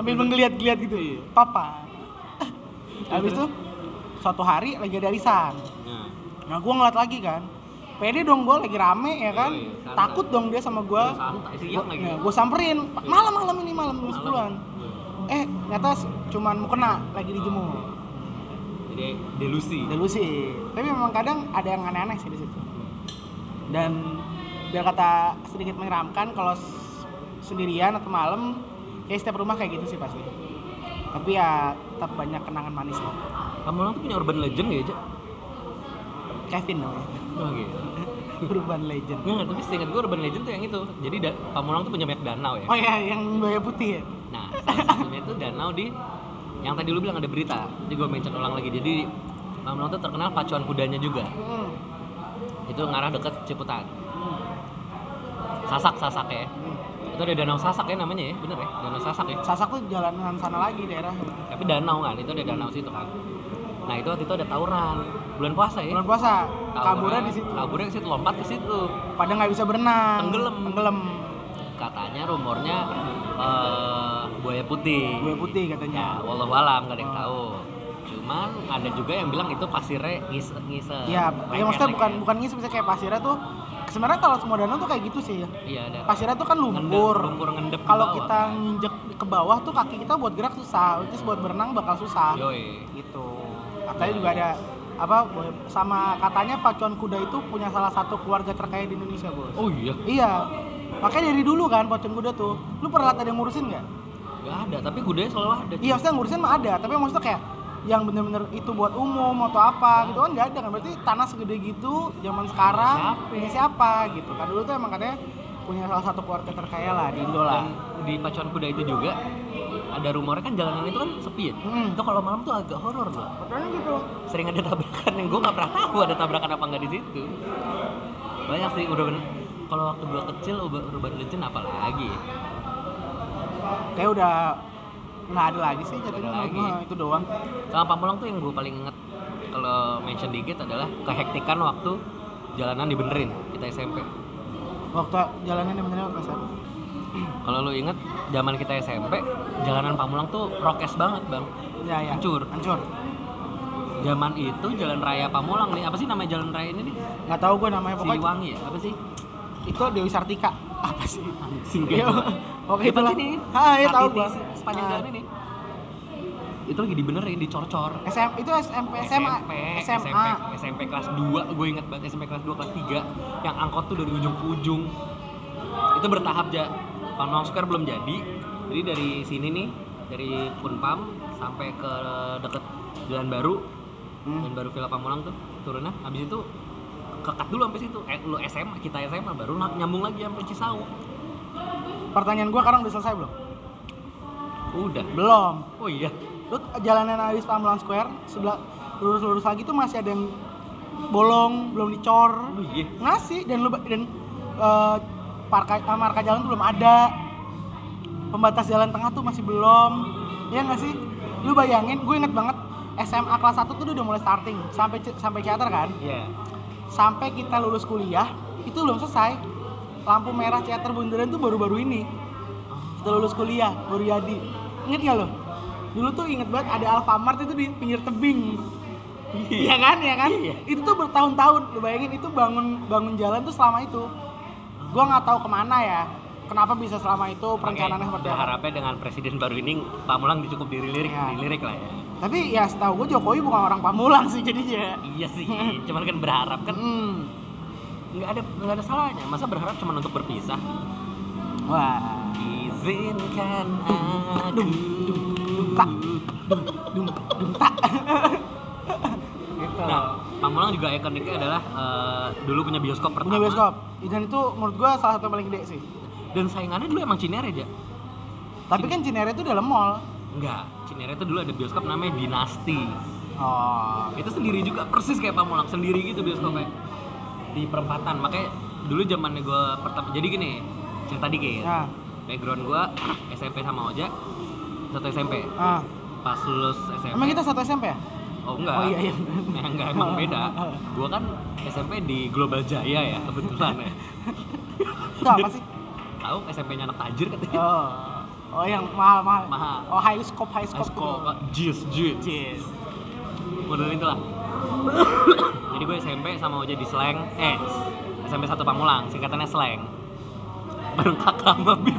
Speaker 2: Ambil menggeliat-geliat gitu. Papa. Habis itu suatu hari lagi ada arisan.
Speaker 1: nah,
Speaker 2: Nah, gua ngeliat lagi kan. Pede dong gua lagi rame ya kan.
Speaker 1: Iya, iya, santai.
Speaker 2: Takut dong dia sama
Speaker 1: udah
Speaker 2: gua.
Speaker 1: santai siang lagi
Speaker 2: Nah, gua samperin. Malam-malam ini malam jam
Speaker 1: Malam.
Speaker 2: 10-an. eh ternyata s- cuman mau kena lagi dijemur
Speaker 1: jadi delusi
Speaker 2: delusi tapi memang kadang ada yang aneh-aneh sih di situ dan biar kata sedikit menyeramkan kalau s- sendirian atau malam kayak setiap rumah kayak gitu sih pasti tapi ya tetap banyak kenangan manis lah
Speaker 1: Pamulang tuh punya urban legend ya Cak?
Speaker 2: Kevin namanya
Speaker 1: Oh, gitu.
Speaker 2: urban legend
Speaker 1: Nggak, tapi seingat gue urban legend tuh yang itu. Jadi da- Pamulang tuh punya banyak danau ya.
Speaker 2: oh ya yang buaya putih ya
Speaker 1: Nah, salah satunya itu danau di yang tadi lu bilang ada berita. Jadi gue mention ulang lagi. Jadi Pamulang tuh terkenal pacuan kudanya juga.
Speaker 2: Hmm.
Speaker 1: Itu ngarah deket Ciputat. Sasak Sasak ya. Itu ada danau Sasak ya namanya ya, bener ya? Danau Sasak ya.
Speaker 2: Sasak tuh jalanan sana lagi daerah
Speaker 1: Tapi danau kan, itu ada danau situ kan. Nah itu waktu itu ada tawuran bulan puasa ya.
Speaker 2: bulan puasa
Speaker 1: Tawuran,
Speaker 2: kaburnya di situ
Speaker 1: Kaburnya ke situ, lompat ke situ.
Speaker 2: pada nggak bisa berenang
Speaker 1: Tenggelam.
Speaker 2: tenggelam
Speaker 1: Katanya rumornya eh, buaya putih.
Speaker 2: buaya putih katanya
Speaker 1: Ya, walau alam gak ada yang tahu. Cuman ada juga yang bilang itu pasirnya ngise ngise.
Speaker 2: Iya, ya
Speaker 1: Lengket,
Speaker 2: maksudnya bukan
Speaker 1: lengket.
Speaker 2: bukan ngisi bisa kayak pasirnya tuh. Sebenarnya kalau semua danau tuh kayak gitu sih. ya.
Speaker 1: Iya, ada.
Speaker 2: Pasirnya tuh kan
Speaker 1: Ngendep,
Speaker 2: lumpur.
Speaker 1: lumpur ngendep. ke
Speaker 2: Kalau
Speaker 1: bawah.
Speaker 2: kita nginjek ke bawah tuh kaki kita buat gerak susah, terus buat berenang bakal susah.
Speaker 1: Yoi.
Speaker 2: Gitu. Katanya juga ada apa sama katanya pacuan kuda itu punya salah satu keluarga terkaya di Indonesia, Bos.
Speaker 1: Oh iya,
Speaker 2: Iya. Makanya dari dulu kan pacuan kuda tuh. Lu pernah lihat ada yang ngurusin nggak?
Speaker 1: nggak ada. Tapi kudanya selalu ada.
Speaker 2: Iya, maksudnya ngurusin mah ada, tapi maksudnya kayak yang bener-bener itu buat umum atau apa gitu kan nggak ada kan berarti tanah segede gitu zaman sekarang
Speaker 1: Siapa?
Speaker 2: ini siapa gitu kan dulu tuh emang katanya punya salah satu keluarga terkaya lah di
Speaker 1: Dan
Speaker 2: Indo lah
Speaker 1: di pacuan kuda itu juga ada rumornya kan jalanan itu kan sepi ya.
Speaker 2: Hmm.
Speaker 1: Itu kalau malam tuh agak horor loh.
Speaker 2: katanya gitu
Speaker 1: Sering ada tabrakan yang gue nggak pernah tahu ada tabrakan apa nggak di situ. Banyak sih urban kalau waktu gua kecil urban, urban legend apa lagi ya?
Speaker 2: kayak udah nggak ada lagi sih jadi
Speaker 1: Nggak ada
Speaker 2: menurut
Speaker 1: lagi.
Speaker 2: gua itu doang
Speaker 1: Sama Pamulang tuh yang gue paling inget kalau mention dikit adalah kehektikan waktu jalanan dibenerin kita SMP.
Speaker 2: waktu jalanan yang benar waktu SMA
Speaker 1: Kalau lu inget zaman kita SMP, jalanan Pamulang tuh rokes banget bang.
Speaker 2: ya ya
Speaker 1: Hancur.
Speaker 2: hancur
Speaker 1: Zaman itu jalan raya Pamulang nih, apa sih nama jalan raya ini nih?
Speaker 2: nggak tahu gue namanya pokoknya
Speaker 1: Siliwangi ya? Apa sih?
Speaker 2: itu Dewi Sartika apa sih
Speaker 1: Anjing
Speaker 2: Iya,
Speaker 1: gua.
Speaker 2: pokoknya
Speaker 1: Di
Speaker 2: itulah.
Speaker 1: sini.
Speaker 2: Ah,
Speaker 1: ya
Speaker 2: iya, tahu gua.
Speaker 1: Sepanjang
Speaker 2: Ah.
Speaker 1: jalan ini. Itu lagi dibenerin, dicor-cor.
Speaker 2: SM itu SMP SMA
Speaker 1: SMP,
Speaker 2: SMA
Speaker 1: SMP kelas 2, gue inget banget SMP kelas 2, kelas 3 Yang angkot tuh dari ujung ke ujung Itu bertahap aja Pamulang Square belum jadi Jadi dari sini nih, dari Punpam Sampai ke deket Jalan Baru
Speaker 2: Hmm.
Speaker 1: Jalan Baru Villa Pamulang tuh turunnya Habis itu kekat dulu sampai situ eh, lu SMA, kita SMA baru na- nyambung lagi sampai Cisauk
Speaker 2: pertanyaan gue sekarang udah selesai belum
Speaker 1: udah
Speaker 2: belum
Speaker 1: oh iya
Speaker 2: lu jalanan habis Pamulang Square sebelah lurus lurus lagi tuh masih ada yang bolong belum dicor
Speaker 1: oh iya
Speaker 2: ngasih dan lu dan eh, parka eh, marka jalan tuh belum ada pembatas jalan tengah tuh masih belum ya nggak sih lu bayangin gue inget banget SMA kelas 1 tuh udah mulai starting sampai ci- sampai ciater kan
Speaker 1: iya
Speaker 2: sampai kita lulus kuliah itu belum selesai lampu merah ciater bundaran tuh baru-baru ini setelah lulus kuliah baru jadi inget gak lo dulu tuh inget banget ada Alfamart itu di pinggir tebing Iya kan, ya kan?
Speaker 1: Iya.
Speaker 2: Itu tuh bertahun-tahun, lu bayangin itu bangun bangun jalan tuh selama itu. Gua nggak tahu kemana ya, kenapa bisa selama itu
Speaker 1: Makanya
Speaker 2: perencanaannya seperti apa.
Speaker 1: berharapnya dengan presiden baru ini Pamulang cukup dilirik,
Speaker 2: Iya.
Speaker 1: dilirik lah ya
Speaker 2: Tapi ya setahu gue Jokowi bukan orang Pamulang sih jadinya.
Speaker 1: Iya sih, cuman kan berharap kan
Speaker 2: Hmm.
Speaker 1: nggak ada nggak ada salahnya. Masa berharap cuma untuk berpisah?
Speaker 2: Wah.
Speaker 1: Izinkan aku.
Speaker 2: Dum, dum, dum, tak. Dum, dum, dum, tak. gitu.
Speaker 1: Nah, Pamulang juga ikoniknya adalah eh, dulu punya bioskop pertama.
Speaker 2: Punya bioskop. Dan itu menurut gua salah satu yang paling gede sih.
Speaker 1: Dan saingannya dulu emang Cinere aja.
Speaker 2: Tapi kan Cinere itu dalam mall.
Speaker 1: Enggak, Cinere itu dulu ada bioskop namanya Dinasti.
Speaker 2: Oh.
Speaker 1: Itu sendiri juga persis kayak Pamulang, sendiri gitu bioskopnya. Di perempatan. Makanya dulu zamannya gue pertama. Jadi gini, cerita dikit.
Speaker 2: Nah,
Speaker 1: Background gue SMP sama Oja, satu SMP.
Speaker 2: ah.
Speaker 1: Pas lulus SMP.
Speaker 2: Emang kita satu SMP ya?
Speaker 1: Oh enggak.
Speaker 2: Oh, iya, iya.
Speaker 1: Nah, enggak emang beda. Gua kan SMP di Global Jaya ya kebetulan ya.
Speaker 2: Itu apa sih?
Speaker 1: Tahu SMP-nya anak tajir katanya.
Speaker 2: Oh, oh yang mahal mahal.
Speaker 1: Mahal.
Speaker 2: Oh high scope high scope.
Speaker 1: Asko, Pak. Jis, Jis.
Speaker 2: Yes.
Speaker 1: Model itulah. Jadi gue SMP sama Oja di Sleng, eh SMP satu Pamulang, singkatannya Sleng. Bareng kakak sama Bim.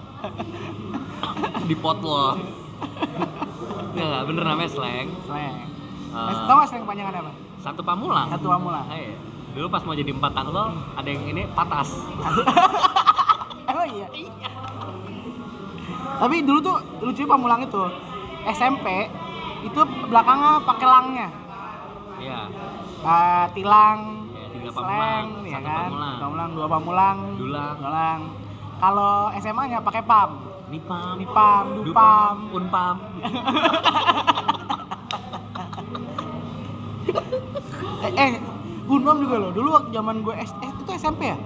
Speaker 1: di pot loh. Enggak, enggak, bener namanya Sleng.
Speaker 2: Slang.
Speaker 1: Ah.
Speaker 2: Eh, Tahu nggak slang panjangan apa?
Speaker 1: Satu Pamulang.
Speaker 2: Satu amula.
Speaker 1: Ah, iya. Dulu pas mau jadi empat tanglo, ada yang ini patas.
Speaker 2: Emang iya. Tapi dulu tuh lucu pamulang itu SMP itu belakangnya pakai langnya.
Speaker 1: Iya.
Speaker 2: Ah, tilang,
Speaker 1: Ya, tiga pamulang,
Speaker 2: slang, ya
Speaker 1: satu
Speaker 2: kan?
Speaker 1: pamulang.
Speaker 2: Pamulang, dua pamulang,
Speaker 1: Dulang.
Speaker 2: dulang. Kalau SMA-nya pakai pam,
Speaker 1: Nipam,
Speaker 2: nipam, dupam.
Speaker 1: unpam.
Speaker 2: Eh, eh Unpam juga loh. Dulu waktu zaman gue S- eh, itu SMP ya?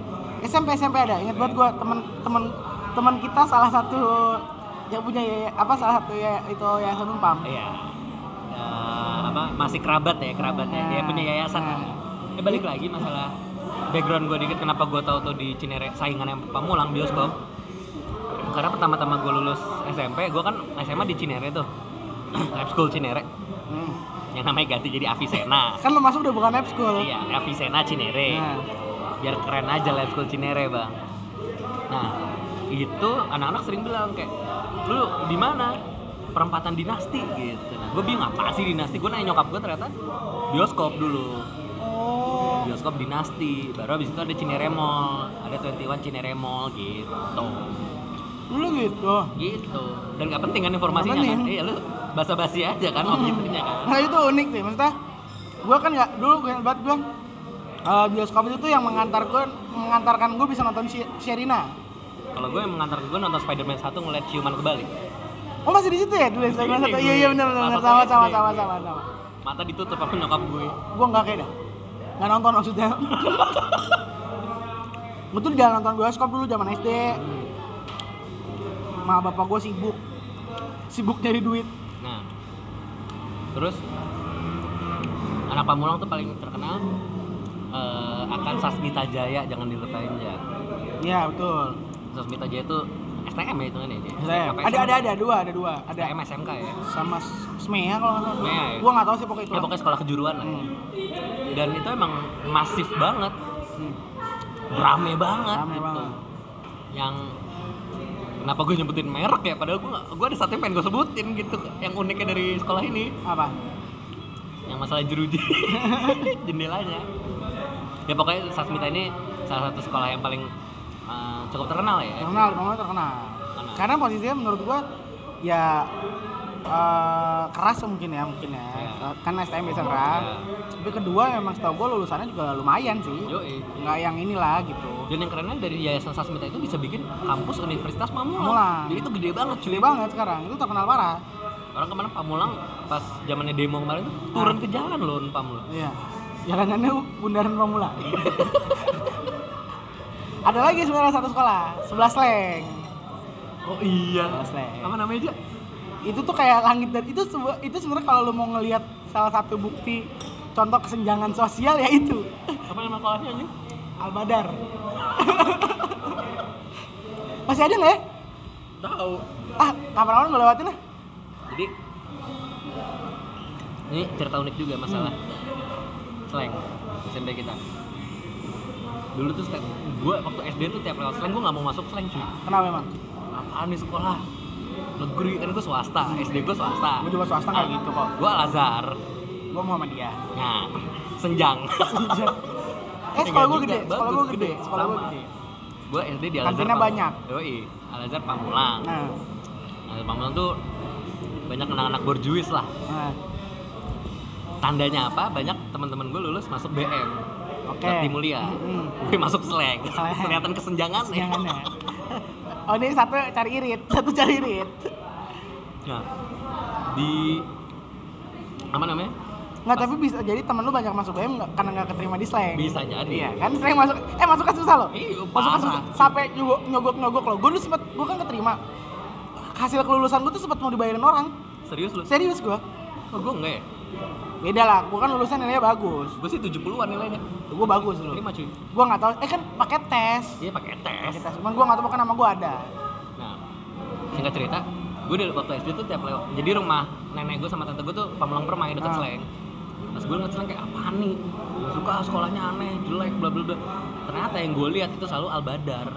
Speaker 2: SMP SMP ada. Ingat banget gue teman teman teman kita salah satu yang punya ya, apa salah satu ya itu yayasan Unpam.
Speaker 1: Iya. Eh, apa masih kerabat ya kerabatnya
Speaker 2: Nah.
Speaker 1: ya punya yayasan kan. Eh, balik lagi masalah background gue dikit kenapa gue tahu tuh di Cinere saingan yang pamulang bioskop karena pertama-tama gue lulus SMP gue kan SMA di Cinere tuh lab school Cinere Eh.
Speaker 2: Hmm.
Speaker 1: yang namanya ganti jadi Avicenna
Speaker 2: Kan lo masuk udah bukan lab school.
Speaker 1: iya Avicenna Cinere
Speaker 2: Nah,
Speaker 1: biar keren aja live school Cinere bang nah itu anak-anak sering bilang kayak lu di mana perempatan dinasti gitu nah gue bingung apa sih dinasti gue nanya nyokap gue ternyata bioskop dulu
Speaker 2: oh.
Speaker 1: bioskop dinasti baru abis itu ada Cinere Mall ada 21 Cinere Mall gitu
Speaker 2: Dulu gitu.
Speaker 1: gitu dan gak penting kan informasinya
Speaker 2: Nggak
Speaker 1: kan
Speaker 2: penting.
Speaker 1: iya lu basa-basi aja kan waktu itunya kan
Speaker 2: Nah itu unik sih, maksudnya gue kan nggak dulu gue ingat banget gue eh, bioskop itu tuh yang mengantar gue mengantarkan gue bisa nonton Shi- Sherina.
Speaker 1: kalau gue yang mengantar gue nonton Spider-Man 1 ngeliat ciuman kebalik
Speaker 2: Oh masih di situ ya dulu yang
Speaker 1: Di sini
Speaker 2: satu.
Speaker 1: gue.
Speaker 2: Iya iya benar
Speaker 1: Apa
Speaker 2: benar benar. sama
Speaker 1: tuh
Speaker 2: sama
Speaker 1: SD?
Speaker 2: sama sama sama.
Speaker 1: mata ditutup sama nyokap gue
Speaker 2: Gue nggak kayak dah. nggak nonton maksudnya gue tuh jangan nonton bioskop dulu zaman SD ma bapak gue sibuk sibuk nyari duit
Speaker 1: Nah, terus anak Pamulang tuh paling terkenal eh, akan Sasmita Jaya, jangan dilupain ya.
Speaker 2: ya betul
Speaker 1: Sasmita Jaya itu STM ya hitungannya dia.
Speaker 2: Saya-
Speaker 1: Apa
Speaker 2: ada
Speaker 1: SMK?
Speaker 2: ada ada dua ada dua ada
Speaker 1: STM SMK ya.
Speaker 2: sama S- Smea kalau nggak salah
Speaker 1: Smea ya?
Speaker 2: gue nggak tahu sih pokoknya itu
Speaker 1: Ya pokoknya sekolah kejuruan lah. ya.
Speaker 2: Hmm.
Speaker 1: Dan itu emang masif banget,
Speaker 2: Hmm.
Speaker 1: rame banget
Speaker 2: Rame
Speaker 1: gitu.
Speaker 2: banget.
Speaker 1: Yang kenapa gue nyebutin merek ya? Padahal gue gue ada satu yang pengen gue sebutin gitu. Yang uniknya dari sekolah ini,
Speaker 2: apa
Speaker 1: yang masalah jeruji jendelanya ya pokoknya Sasmita ini salah satu sekolah yang paling eh, cukup terkenal ya
Speaker 2: terkenal rumah terkenal
Speaker 1: Terkenal.
Speaker 2: karena posisinya menurut gue ya eh, keras mungkin ya mungkin ya
Speaker 1: Iya.
Speaker 2: kan STM biasa keras
Speaker 1: Iya.
Speaker 2: tapi kedua emang setahu gue lulusannya juga lumayan sih
Speaker 1: Yoi.
Speaker 2: nggak yang inilah gitu
Speaker 1: dan yang kerennya dari Yayasan Sasmita itu bisa bikin kampus Universitas Pamulang
Speaker 2: Pamulang.
Speaker 1: jadi itu gede banget cuy
Speaker 2: gede banget sekarang itu terkenal parah
Speaker 1: orang kemana Pamulang pas zamannya demo kemarin tuh turun ke jalan loh Pamulang
Speaker 2: Iya. Jalanannya bundaran pemula. Ada lagi sebenarnya satu sekolah, 11 leng.
Speaker 1: oh iya
Speaker 2: 11 leng.
Speaker 1: apa namanya aja
Speaker 2: Itu tuh kayak langit dan itu sebu- itu sebenarnya kalau lu mau ngelihat salah satu bukti contoh kesenjangan sosial ya itu.
Speaker 1: Eh, apa nama sekolahnya aja
Speaker 2: Albadar. Masih ada nggak ya?
Speaker 1: tahu
Speaker 2: Ah, kapan-kapan gue lewatin lah.
Speaker 1: jadi ini cerita unik juga masalah
Speaker 2: Hmm.
Speaker 1: slang SMP kita dulu tuh gue waktu SD tuh tiap lewat slang gue nggak mau masuk slang cuy
Speaker 2: Kenapa emang?
Speaker 1: apaan nih sekolah negeri kan gue swasta SD gue swasta
Speaker 2: Gue juga swasta kayak gitu kok.
Speaker 1: gue Al Azhar
Speaker 2: Gue mau sama dia.
Speaker 1: nah senjang
Speaker 2: eh, sekolah gue
Speaker 1: Enggak
Speaker 2: gede,
Speaker 1: juga,
Speaker 2: sekolah
Speaker 1: bagus,
Speaker 2: gue gede,
Speaker 1: gede,
Speaker 2: sekolah gue
Speaker 1: sama.
Speaker 2: gede.
Speaker 1: gue SD di Al Azhar
Speaker 2: Kantinnya
Speaker 1: Pam-
Speaker 2: banyak.
Speaker 1: yoi Al Azhar Pamulang
Speaker 2: Nah,
Speaker 1: Al Azhar Pamulang tuh banyak anak-anak borjuis lah
Speaker 2: nah.
Speaker 1: tandanya apa banyak teman-teman gue lulus masuk BM
Speaker 2: Oke.
Speaker 1: Bakti Mulia.
Speaker 2: Mm-mm.
Speaker 1: gue masuk slang
Speaker 2: Slang.
Speaker 1: kelihatan kesenjangan ya. nih
Speaker 2: Jangan Oh ini satu cari irit, satu cari irit.
Speaker 1: Nah, di apa namanya?
Speaker 2: Nggak tapi bisa jadi temen lu banyak masuk BM nggak- karena nggak keterima di slang.
Speaker 1: Bisa jadi.
Speaker 2: Iya kan slang masuk, eh masuk kan susah loh.
Speaker 1: Iya,
Speaker 2: masuk kan susah,
Speaker 1: parah.
Speaker 2: sampai nyogok nyogok nyogok loh. Gue dulu sempet, gue kan keterima. Hasil kelulusan gue tuh sempet mau dibayarin orang.
Speaker 1: Serius lu?
Speaker 2: Serius gue.
Speaker 1: Oh, gue enggak ya?
Speaker 2: Beda lah, gue kan lulusan nilainya bagus.
Speaker 1: Gue sih 70-an nilainya.
Speaker 2: Gue bagus loh.
Speaker 1: Ini mah cuy.
Speaker 2: Gue nggak tahu, eh kan pakai tes.
Speaker 1: Dia pakai tes.
Speaker 2: Pakai tes, cuman gue nggak tahu pakai nama gue ada.
Speaker 1: Nah, singkat cerita, gue dari waktu SD tuh tiap lewat. Jadi rumah nenek gue sama tante gue tuh pamulang permai deket
Speaker 2: Ah.
Speaker 1: Sleng. Pas gue ngeliat Sleng kayak apaan nih? Gak suka sekolahnya aneh, jelek, bla bla bla. Ternyata yang gue lihat itu selalu Albadar.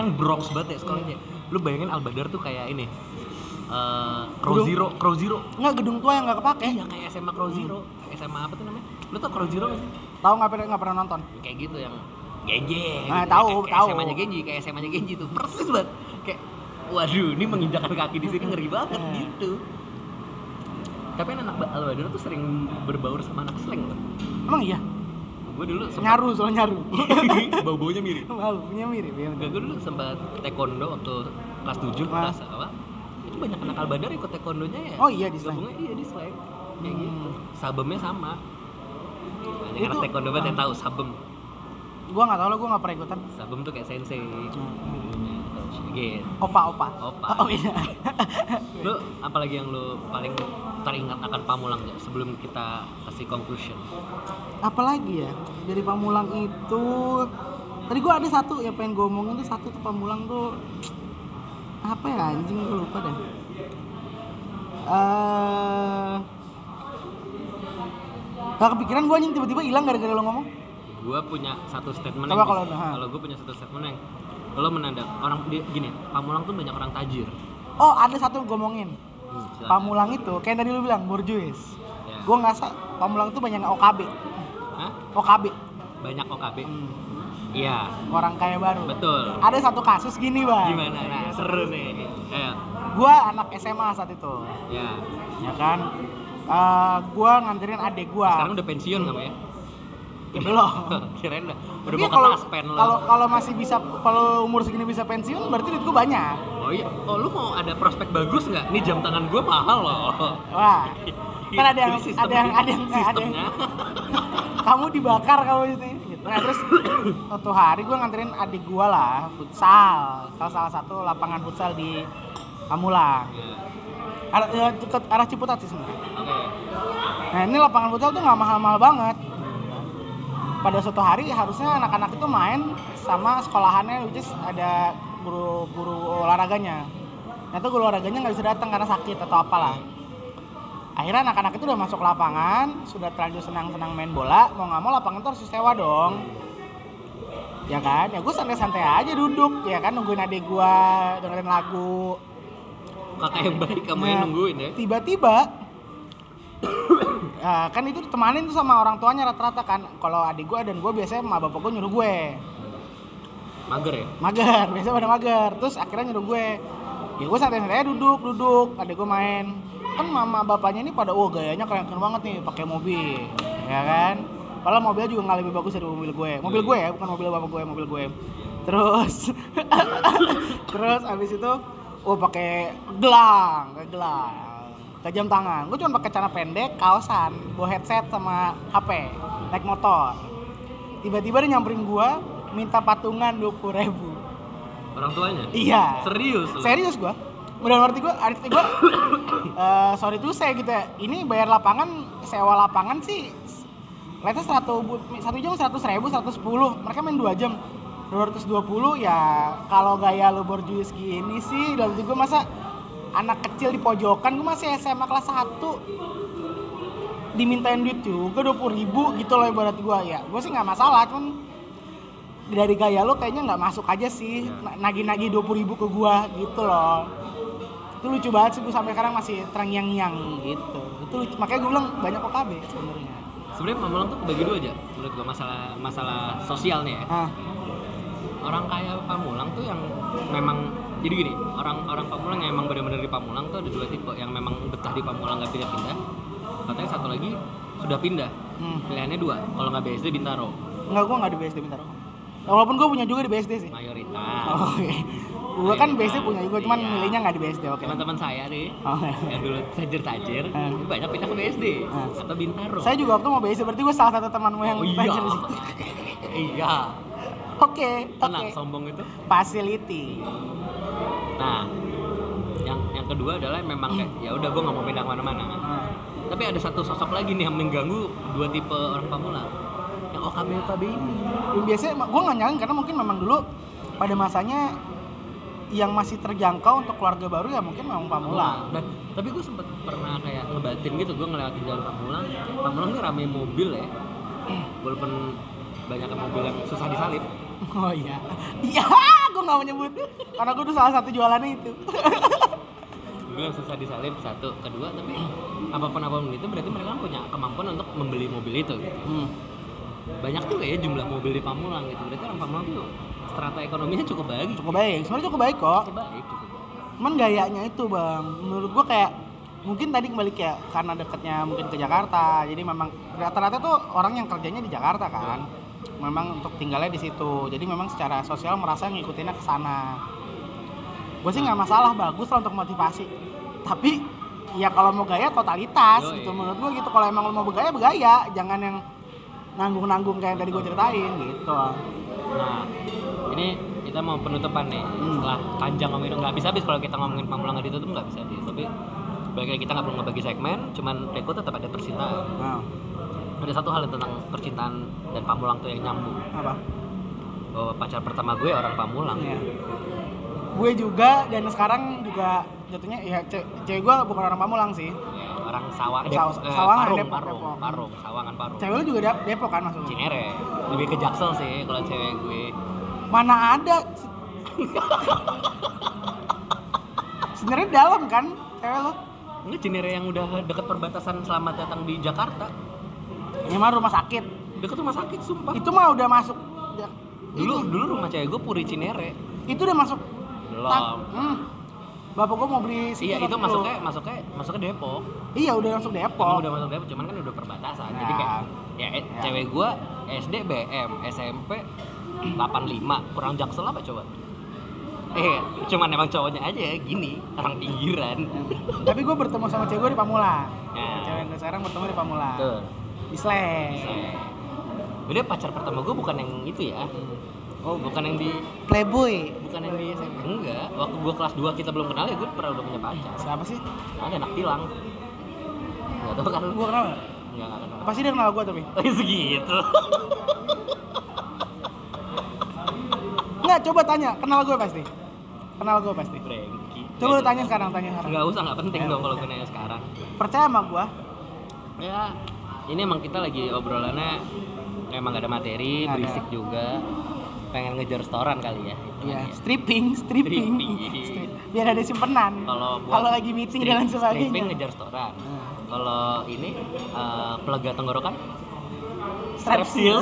Speaker 1: Kan Bronx banget ya sekolahnya. Lu bayangin Albadar tuh kayak ini. eh Crow
Speaker 2: Gedung.
Speaker 1: Zero, Crow Zero.
Speaker 2: Nggak gedung tua yang nggak kepake.
Speaker 1: Iya kayak SMA Crow Zero. SMA apa tuh namanya? Lu tau Crow Zero gak sih?
Speaker 2: Tahu nggak pernah nggak pernah nonton.
Speaker 1: Kayak gitu yang genje.
Speaker 2: Nah,
Speaker 1: gitu.
Speaker 2: tahu,
Speaker 1: Kayak- kayak
Speaker 2: tahu.
Speaker 1: SMA-nya Genji, kayak SMA-nya Genji tuh persis banget. Kayak waduh, ini menginjakan kaki di sini ngeri banget
Speaker 2: Iya.
Speaker 1: gitu. Tapi kan anak Al-Badr tuh sering berbaur sama anak slang tuh.
Speaker 2: Emang iya,
Speaker 1: Gue dulu sempat
Speaker 2: nyaru soal nyaru.
Speaker 1: bau-baunya mirip.
Speaker 2: Malu, punya mirip ya.
Speaker 1: Gue dulu sempat taekwondo waktu kelas 7
Speaker 2: Ah.
Speaker 1: kelas apa? Itu banyak anak Al-Badr ikut taekwondonya ya.
Speaker 2: Oh iya, di slang.
Speaker 1: Gabungnya iya di slang. Kayak
Speaker 2: Hmm.
Speaker 1: gitu. Sabemnya sama. Banyak anak
Speaker 2: Itu-
Speaker 1: taekwondo banget yang
Speaker 2: ah.
Speaker 1: tahu sabem.
Speaker 2: Hmm. Gua nggak tahu lah, gua nggak pernah ikutan.
Speaker 1: Sabem tuh kayak sensei.
Speaker 2: Hmm.
Speaker 1: Gitu.
Speaker 2: Opa, opa.
Speaker 1: Opa.
Speaker 2: Oh iya.
Speaker 1: Lu apalagi yang lu paling teringat akan Pamulang ya sebelum kita kasih conclusion.
Speaker 2: Apalagi ya dari Pamulang itu tadi gua ada satu yang pengen gua omongin tuh satu tuh Pamulang tuh apa ya anjing gua lupa deh. Eh Gak kepikiran gua anjing tiba-tiba hilang gara-gara lo ngomong.
Speaker 1: Gua punya satu statement
Speaker 2: Coba
Speaker 1: yang
Speaker 2: kalau-
Speaker 1: bisa-
Speaker 2: ha.
Speaker 1: kalau gua punya satu statement yang lo menandak orang di- gini, Pamulang tuh banyak orang tajir.
Speaker 2: Oh ada satu gua omongin.
Speaker 1: Hmm, silakan.
Speaker 2: Pamulang itu kayak tadi lu bilang borjuis.
Speaker 1: Ya.
Speaker 2: Gua ngerasa Pamulang tuh banyak OKB.
Speaker 1: Hah?
Speaker 2: OKB.
Speaker 1: Banyak OKB.
Speaker 2: Hmm,
Speaker 1: Iya,
Speaker 2: orang kaya baru.
Speaker 1: betul.
Speaker 2: Ada satu kasus gini bang.
Speaker 1: Gimana? Nah, seru nih. Ayo.
Speaker 2: Gua anak SMA saat itu,
Speaker 1: Ya.
Speaker 2: ya kan? Eh, gua nganterin adik gua.
Speaker 1: Sekarang udah pensiun kamu ya?
Speaker 2: Ya belum.
Speaker 1: Kirain udah. Udah
Speaker 2: Tapi
Speaker 1: mau
Speaker 2: kalau
Speaker 1: ke taspen lo.
Speaker 2: kalau kalau masih bisa kalau umur segini bisa pensiun berarti duit gua banyak.
Speaker 1: Oh iya oh lu mau ada prospek bagus nggak nih jam tangan gue mahal loh
Speaker 2: Wah. Kan ada yang
Speaker 1: Jadi sistem-
Speaker 2: ada yang ada yang ada yang
Speaker 1: sistemnya
Speaker 2: kamu dibakar kamu itu gitu. Nah, terus suatu hari gue nganterin adik gue lah futsal salah salah satu lapangan futsal di Pamulang
Speaker 1: Iya.
Speaker 2: arah, ya, deket arah Ciputat sih sebenarnya
Speaker 1: oke
Speaker 2: nah ini lapangan futsal tuh nggak mahal-mahal banget pada suatu hari harusnya anak-anak itu main sama sekolahannya which is ada guru-guru olahraganya nah itu guru olahraganya nggak bisa datang karena sakit atau apalah akhirnya anak-anak itu udah masuk lapangan sudah terlanjur senang-senang main bola mau nggak mau lapangan itu harus disewa dong ya kan ya gue santai-santai aja duduk ya kan nungguin adik gue dengerin lagu
Speaker 1: kakak yang baik kamu yang
Speaker 2: Nah,
Speaker 1: nungguin ya
Speaker 2: tiba-tiba ya, kan itu ditemanin tuh sama orang tuanya rata-rata kan kalau adik gue dan gue biasanya sama bapak gue nyuruh gue
Speaker 1: mager ya
Speaker 2: mager biasanya pada mager terus akhirnya nyuruh gue ya gue santai-santai aja duduk duduk adik gue main kan mama bapaknya ini pada oh gayanya keren keren banget nih pakai mobil ya kan padahal mobilnya juga nggak lebih bagus dari mobil gue mobil
Speaker 1: Iya,
Speaker 2: gue ya bukan mobil bapak gue mobil gue terus terus abis itu oh pakai gelang kayak gelang ke jam tangan gue cuma pakai celana pendek kaosan bawa headset sama hp naik motor tiba-tiba dia nyamperin gue minta patungan dua ribu
Speaker 1: orang tuanya
Speaker 2: iya
Speaker 1: serius lu?
Speaker 2: serius gue udah ngerti gue arti gue eh, sorry tuh saya gitu ya ini bayar lapangan sewa lapangan sih let's satu satu jam seratus ribu seratus sepuluh mereka main dua jam 220 ya kalau gaya lu borjuis gini sih dalam gue masa anak kecil di pojokan gue masih SMA kelas 1 dimintain duit juga 20 ribu gitu loh ibarat gue ya gue sih nggak masalah cuman dari gaya lo kayaknya nggak masuk aja sih
Speaker 1: Iya.
Speaker 2: na- nagih-nagih 20 ribu ke gua gitu loh itu lucu banget sih gue sampai sekarang masih terngiang-ngiang gitu itu lucu. makanya gue bilang banyak OKB sebenarnya
Speaker 1: sebenarnya Mamulang tuh kebagi dua aja menurut gua masalah masalah sosialnya ya
Speaker 2: ah
Speaker 1: orang kaya Pamulang tuh yang memang jadi gini orang orang Pamulang yang emang benar-benar di Pamulang tuh ada dua tipe yang memang betah di Pamulang nggak pindah-pindah katanya satu lagi sudah pindah
Speaker 2: hmm.
Speaker 1: pilihannya dua kalau nggak BSD Bintaro
Speaker 2: nggak gue nggak di BSD bentar walaupun gue punya juga di BSD sih
Speaker 1: mayoritas
Speaker 2: oke gue kan BSD punya juga cuman
Speaker 1: Ah. Iya.
Speaker 2: milihnya nggak di BSD oke Oh, iya.
Speaker 1: teman-teman saya nih
Speaker 2: Oke.
Speaker 1: yang dulu tajir-tajir
Speaker 2: Eh.
Speaker 1: itu banyak pindah ke BSD
Speaker 2: Eh.
Speaker 1: atau Bintaro
Speaker 2: saya juga waktu mau BSD berarti gue salah satu temanmu yang
Speaker 1: oh iya
Speaker 2: belajar di situ.
Speaker 1: iya
Speaker 2: oke
Speaker 1: tenang
Speaker 2: oke
Speaker 1: sombong itu
Speaker 2: facility
Speaker 1: Nah, yang yang kedua adalah memang kayak ya udah gue nggak mau pindah kemana-mana.
Speaker 2: Nah,
Speaker 1: Tapi ada satu sosok lagi nih yang mengganggu dua tipe orang pemula. Yang OKB OKB ini.
Speaker 2: yang biasanya gue nggak nyalain karena mungkin memang dulu pada masanya yang masih terjangkau untuk keluarga baru ya mungkin memang pamulang
Speaker 1: Dan tapi gue sempet pernah kayak ngebatin gitu gue ngelewatin jalan Pamulang. Pamulang tuh rame mobil ya.
Speaker 2: Eh.
Speaker 1: Walaupun banyak mobil yang susah disalip.
Speaker 2: oh iya iya gue nggak mau nyebut karena gue tuh salah satu jualannya itu
Speaker 1: Mobil yang susah disalip satu, kedua tapi apapun apapun itu berarti mereka kan punya kemampuan untuk membeli mobil itu. Gitu. Banyak juga ya jumlah mobil di Pamulang gitu. Berarti orang Pamulang tuh strata ekonominya cukup baik.
Speaker 2: cukup baik sebenarnya cukup baik kok
Speaker 1: cukup baik gitu. cukup baik.
Speaker 2: cuman gayanya itu bang menurut gue kayak mungkin tadi kembali kayak karena dekatnya mungkin ke Jakarta jadi memang rata-rata tuh orang yang kerjanya di Jakarta kan memang untuk tinggalnya di situ jadi memang secara sosial merasa ngikutinnya ke sana gue sih nggak masalah bagus lah untuk motivasi tapi ya kalau mau gaya totalitas
Speaker 1: Yoi.
Speaker 2: gitu menurut gue gitu kalau emang lo mau bergaya bergaya jangan yang nanggung-nanggung kayak yang tadi gue ceritain gitu
Speaker 1: Nah, ini kita mau penutupan nih.
Speaker 2: Hmm.
Speaker 1: Setelah panjang ngomongin nggak habis-habis kalau kita ngomongin Pamulang nggak ditutup nggak bisa habis. Tapi balik lagi kita nggak perlu ngebagi segmen, cuman Reko tetap ada percintaan.
Speaker 2: nah,
Speaker 1: Ada satu hal yang tentang percintaan dan Pamulang tuh yang nyambung.
Speaker 2: apa
Speaker 1: Bahwa pacar pertama gue orang Pamulang.
Speaker 2: Iya. Gue juga dan sekarang juga jatuhnya ya ce- cewek gue bukan orang Pamulang sih.
Speaker 1: Ya, orang Sawa,
Speaker 2: Saw-
Speaker 1: eh,
Speaker 2: Sawangan,
Speaker 1: Parung,
Speaker 2: Depok,
Speaker 1: Parung,
Speaker 2: Depok.
Speaker 1: Parung, Sawangan Parung.
Speaker 2: Cewek lu juga Dep- Depok kan maksudnya.
Speaker 1: Cinere, lebih ke Jaksel sih kalau cewek gue.
Speaker 2: Mana ada Sebenarnya dalam kan cewek lo.
Speaker 1: Ini Cinere yang udah deket perbatasan selamat datang di Jakarta.
Speaker 2: Ini mah rumah sakit.
Speaker 1: Deket rumah sakit sumpah.
Speaker 2: Itu mah udah masuk da-
Speaker 1: Dulu dulu rumah cewek gue Puri Cinere.
Speaker 2: itu udah masuk
Speaker 1: Belum.
Speaker 2: Hmm. Bapak gue mau beli situ
Speaker 1: Iya itu
Speaker 2: tapi lu-
Speaker 1: masuknya masuknya masuknya Depok.
Speaker 2: Iya udah masuk
Speaker 1: Emang
Speaker 2: Depok.
Speaker 1: udah masuk Depok, cuman kan udah perbatasan.
Speaker 2: Ya.
Speaker 1: Jadi kayak ya, eh,
Speaker 2: Ya.
Speaker 1: cewek gua SD BM, SMP 85 kurang jaksel apa coba? eh cuman emang cowoknya aja gini orang pinggiran
Speaker 2: tapi gue bertemu sama cewek gue di Pamulang
Speaker 1: Ya.
Speaker 2: cewek yang gue sekarang bertemu di Pamulang
Speaker 1: tuh
Speaker 2: di Sleng
Speaker 1: udah pacar pertama gue bukan yang itu ya oh bukan yang di
Speaker 2: Playboy
Speaker 1: bukan yang di SMP enggak waktu gue kelas 2 kita belum kenal ya gue pernah udah punya pacar
Speaker 2: siapa sih
Speaker 1: ada anak tilang nggak tahu kan
Speaker 2: gue kenal nggak?
Speaker 1: nggak nggak kenal
Speaker 2: pasti dia kenal gue tapi
Speaker 1: Eh, segitu
Speaker 2: nggak coba tanya kenal gue pasti kenal gue pasti
Speaker 1: Brengki
Speaker 2: coba lu tanya sekarang tanya sekarang
Speaker 1: nggak usah nggak penting dong kalau gue nanya sekarang
Speaker 2: percaya sama gue
Speaker 1: ya ini emang kita lagi obrolannya emang gak ada materi
Speaker 2: Nggak ada.
Speaker 1: berisik juga pengen ngejar setoran kali ya
Speaker 2: ya stripping stripping
Speaker 1: Stripping.
Speaker 2: Strip- biar ada simpenan
Speaker 1: kalau buat
Speaker 2: kalau lagi meeting
Speaker 1: strip-
Speaker 2: dan lain
Speaker 1: stripping
Speaker 2: sebagainya
Speaker 1: ngejar setoran
Speaker 2: Hmm.
Speaker 1: kalau ini eh, pelega tenggorokan
Speaker 2: Strap
Speaker 1: seal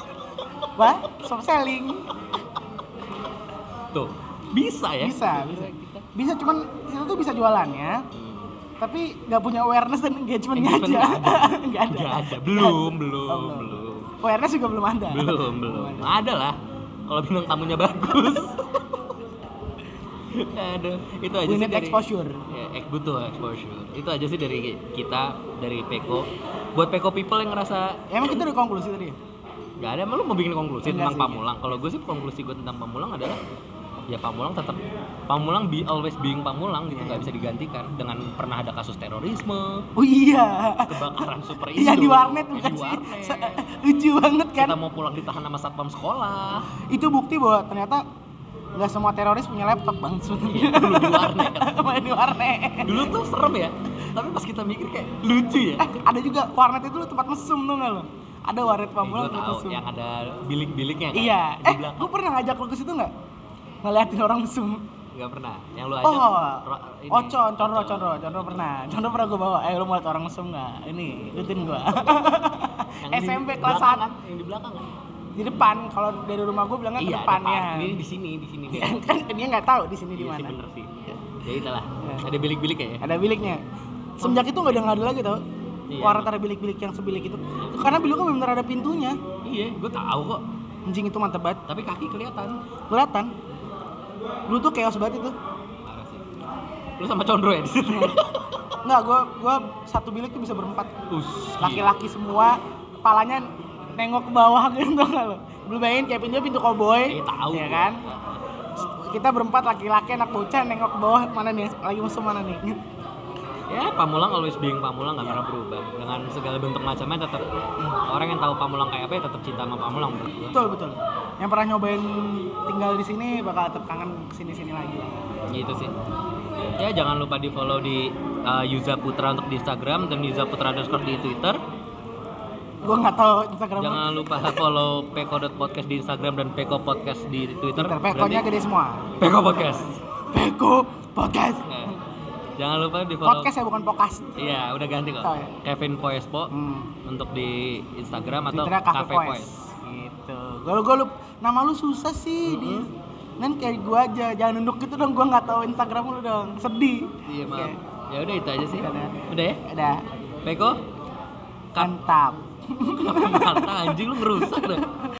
Speaker 2: wah soft selling
Speaker 1: tuh bisa ya
Speaker 2: bisa bisa bisa cuman kita tuh bisa jualannya
Speaker 1: Hmm.
Speaker 2: tapi nggak punya awareness dan engagementnya aja
Speaker 1: Engagement nggak ada.
Speaker 2: nggak ada
Speaker 1: nggak ada belum
Speaker 2: Oh,
Speaker 1: belum
Speaker 2: belum.
Speaker 1: belum
Speaker 2: awareness juga belum ada
Speaker 1: belum belum ada lah kalau bintang tamunya bagus aduh itu aja
Speaker 2: we
Speaker 1: sih
Speaker 2: need
Speaker 1: dari-
Speaker 2: exposure
Speaker 1: Ya, ek- butuh exposure. Itu aja sih dari kita, dari Peko. Buat Peko people yang ngerasa
Speaker 2: emang kita udah konklusi tadi ya?
Speaker 1: nggak ada, emang lu mau bikin konklusi tentang
Speaker 2: Enggak sih.
Speaker 1: Pamulang. Kalau gue sih konklusi gue tentang Pamulang adalah ya Pamulang tetap Pamulang be always being Pamulang gitu
Speaker 2: Iya.
Speaker 1: nggak bisa digantikan dengan pernah ada kasus terorisme,
Speaker 2: oh iya
Speaker 1: kebakaran super Indo.
Speaker 2: iya di warnet
Speaker 1: yang
Speaker 2: bukan
Speaker 1: di
Speaker 2: sih
Speaker 1: warnet.
Speaker 2: lucu banget kan
Speaker 1: Kita mau pulang ditahan sama satpam sekolah.
Speaker 2: itu bukti bahwa ternyata nggak semua teroris punya laptop bang sebenarnya
Speaker 1: Iya, dulu di warnet.
Speaker 2: main di warnet
Speaker 1: Dulu tuh serem ya. Tapi pas kita mikir kayak lucu ya.
Speaker 2: eh ada juga warnet itu lu tempat mesum tuh nggak lo ada warnet
Speaker 1: Gue
Speaker 2: pamulang tempat
Speaker 1: Iya, tahu
Speaker 2: mesum
Speaker 1: yang ada bilik-biliknya kan.
Speaker 2: iya
Speaker 1: Di
Speaker 2: eh
Speaker 1: belakang.
Speaker 2: lu pernah ngajak lu ke situ nggak ngeliatin orang mesum
Speaker 1: Gak pernah. Yang lu ajak
Speaker 2: Oh,
Speaker 1: ro- ini.
Speaker 2: oh con, conro, conro, conro pernah, conro pernah gue bawa. Eh, lu mau liat orang mesum nggak? Ini, ikutin gue.
Speaker 1: Yang di
Speaker 2: SMP kelas
Speaker 1: belakang kan?
Speaker 2: 1
Speaker 1: Yang di belakang kan?
Speaker 2: di depan. Kalau dari rumah gue bilangnya ke
Speaker 1: Iya,
Speaker 2: depannya.
Speaker 1: depan. Ini di sini, di sini. Iya,
Speaker 2: kan dia nggak tahu di sini di
Speaker 1: Iya sih
Speaker 2: mana.
Speaker 1: bener sih. Ya itulah.
Speaker 2: Iya.
Speaker 1: Ada bilik-bilik ya.
Speaker 2: Ada biliknya. Semenjak itu nggak ada nggak ada lagi tau.
Speaker 1: Iya.
Speaker 2: Warna ada bilik-bilik yang sebilik itu. Karena bilik gue benar ada pintunya.
Speaker 1: Iya, gue tahu kok.
Speaker 2: Anjing itu mantep banget.
Speaker 1: Tapi kaki kelihatan.
Speaker 2: Kelihatan. Dulu tuh chaos banget itu.
Speaker 1: Parah sih. Lu sama Condro ya di situ.
Speaker 2: Iya. Nggak, gue gua satu bilik tuh bisa berempat.
Speaker 1: Us, gila.
Speaker 2: laki-laki semua kepalanya nengok ke bawah gitu nggak lo belum bayangin kayak pintu pintu
Speaker 1: Eh,
Speaker 2: koboi
Speaker 1: tahu.
Speaker 2: ya kan kita berempat laki-laki anak bocah nengok ke bawah mana nih lagi musuh mana nih
Speaker 1: Ya, Pamulang always being Pamulang
Speaker 2: Iya.
Speaker 1: gak pernah berubah. Dengan segala bentuk macamnya tetap orang yang tahu Pamulang kayak apa ya tetap cinta sama Pamulang menurut gua.
Speaker 2: betul betul yang pernah nyobain tinggal di sini bakal tetap kangen kesini sini lagi lah
Speaker 1: gitu sih ya jangan lupa di follow di uh, Yuza Putra untuk di Instagram dan Yuza Putra underscore di Twitter
Speaker 2: gue nggak tahu instagram
Speaker 1: jangan lupa follow peko.podcast di Instagram dan peko podcast di Twitter
Speaker 2: Twitter pekonya
Speaker 1: Berarti
Speaker 2: gede semua
Speaker 1: peko podcast
Speaker 2: peko podcast
Speaker 1: Nah, jangan lupa di follow
Speaker 2: podcast ya bukan podcast
Speaker 1: iya udah ganti kok
Speaker 2: Oh, ya.
Speaker 1: Kevin Poespo
Speaker 2: hmm.
Speaker 1: untuk di Instagram atau
Speaker 2: Twitternya Cafe
Speaker 1: Cafe
Speaker 2: Poes
Speaker 1: Poes
Speaker 2: gitu gue gue lu nama lu susah sih di Nen kayak gue aja, jangan nunduk gitu dong, gue nggak tahu Instagram lu dong, sedih.
Speaker 1: iya maaf
Speaker 2: Oke,
Speaker 1: ya udah itu aja sih
Speaker 2: Udah.
Speaker 1: udah ya
Speaker 2: Udah,
Speaker 1: peko kan
Speaker 2: mantap.
Speaker 1: mata anjing lu ngerusak deh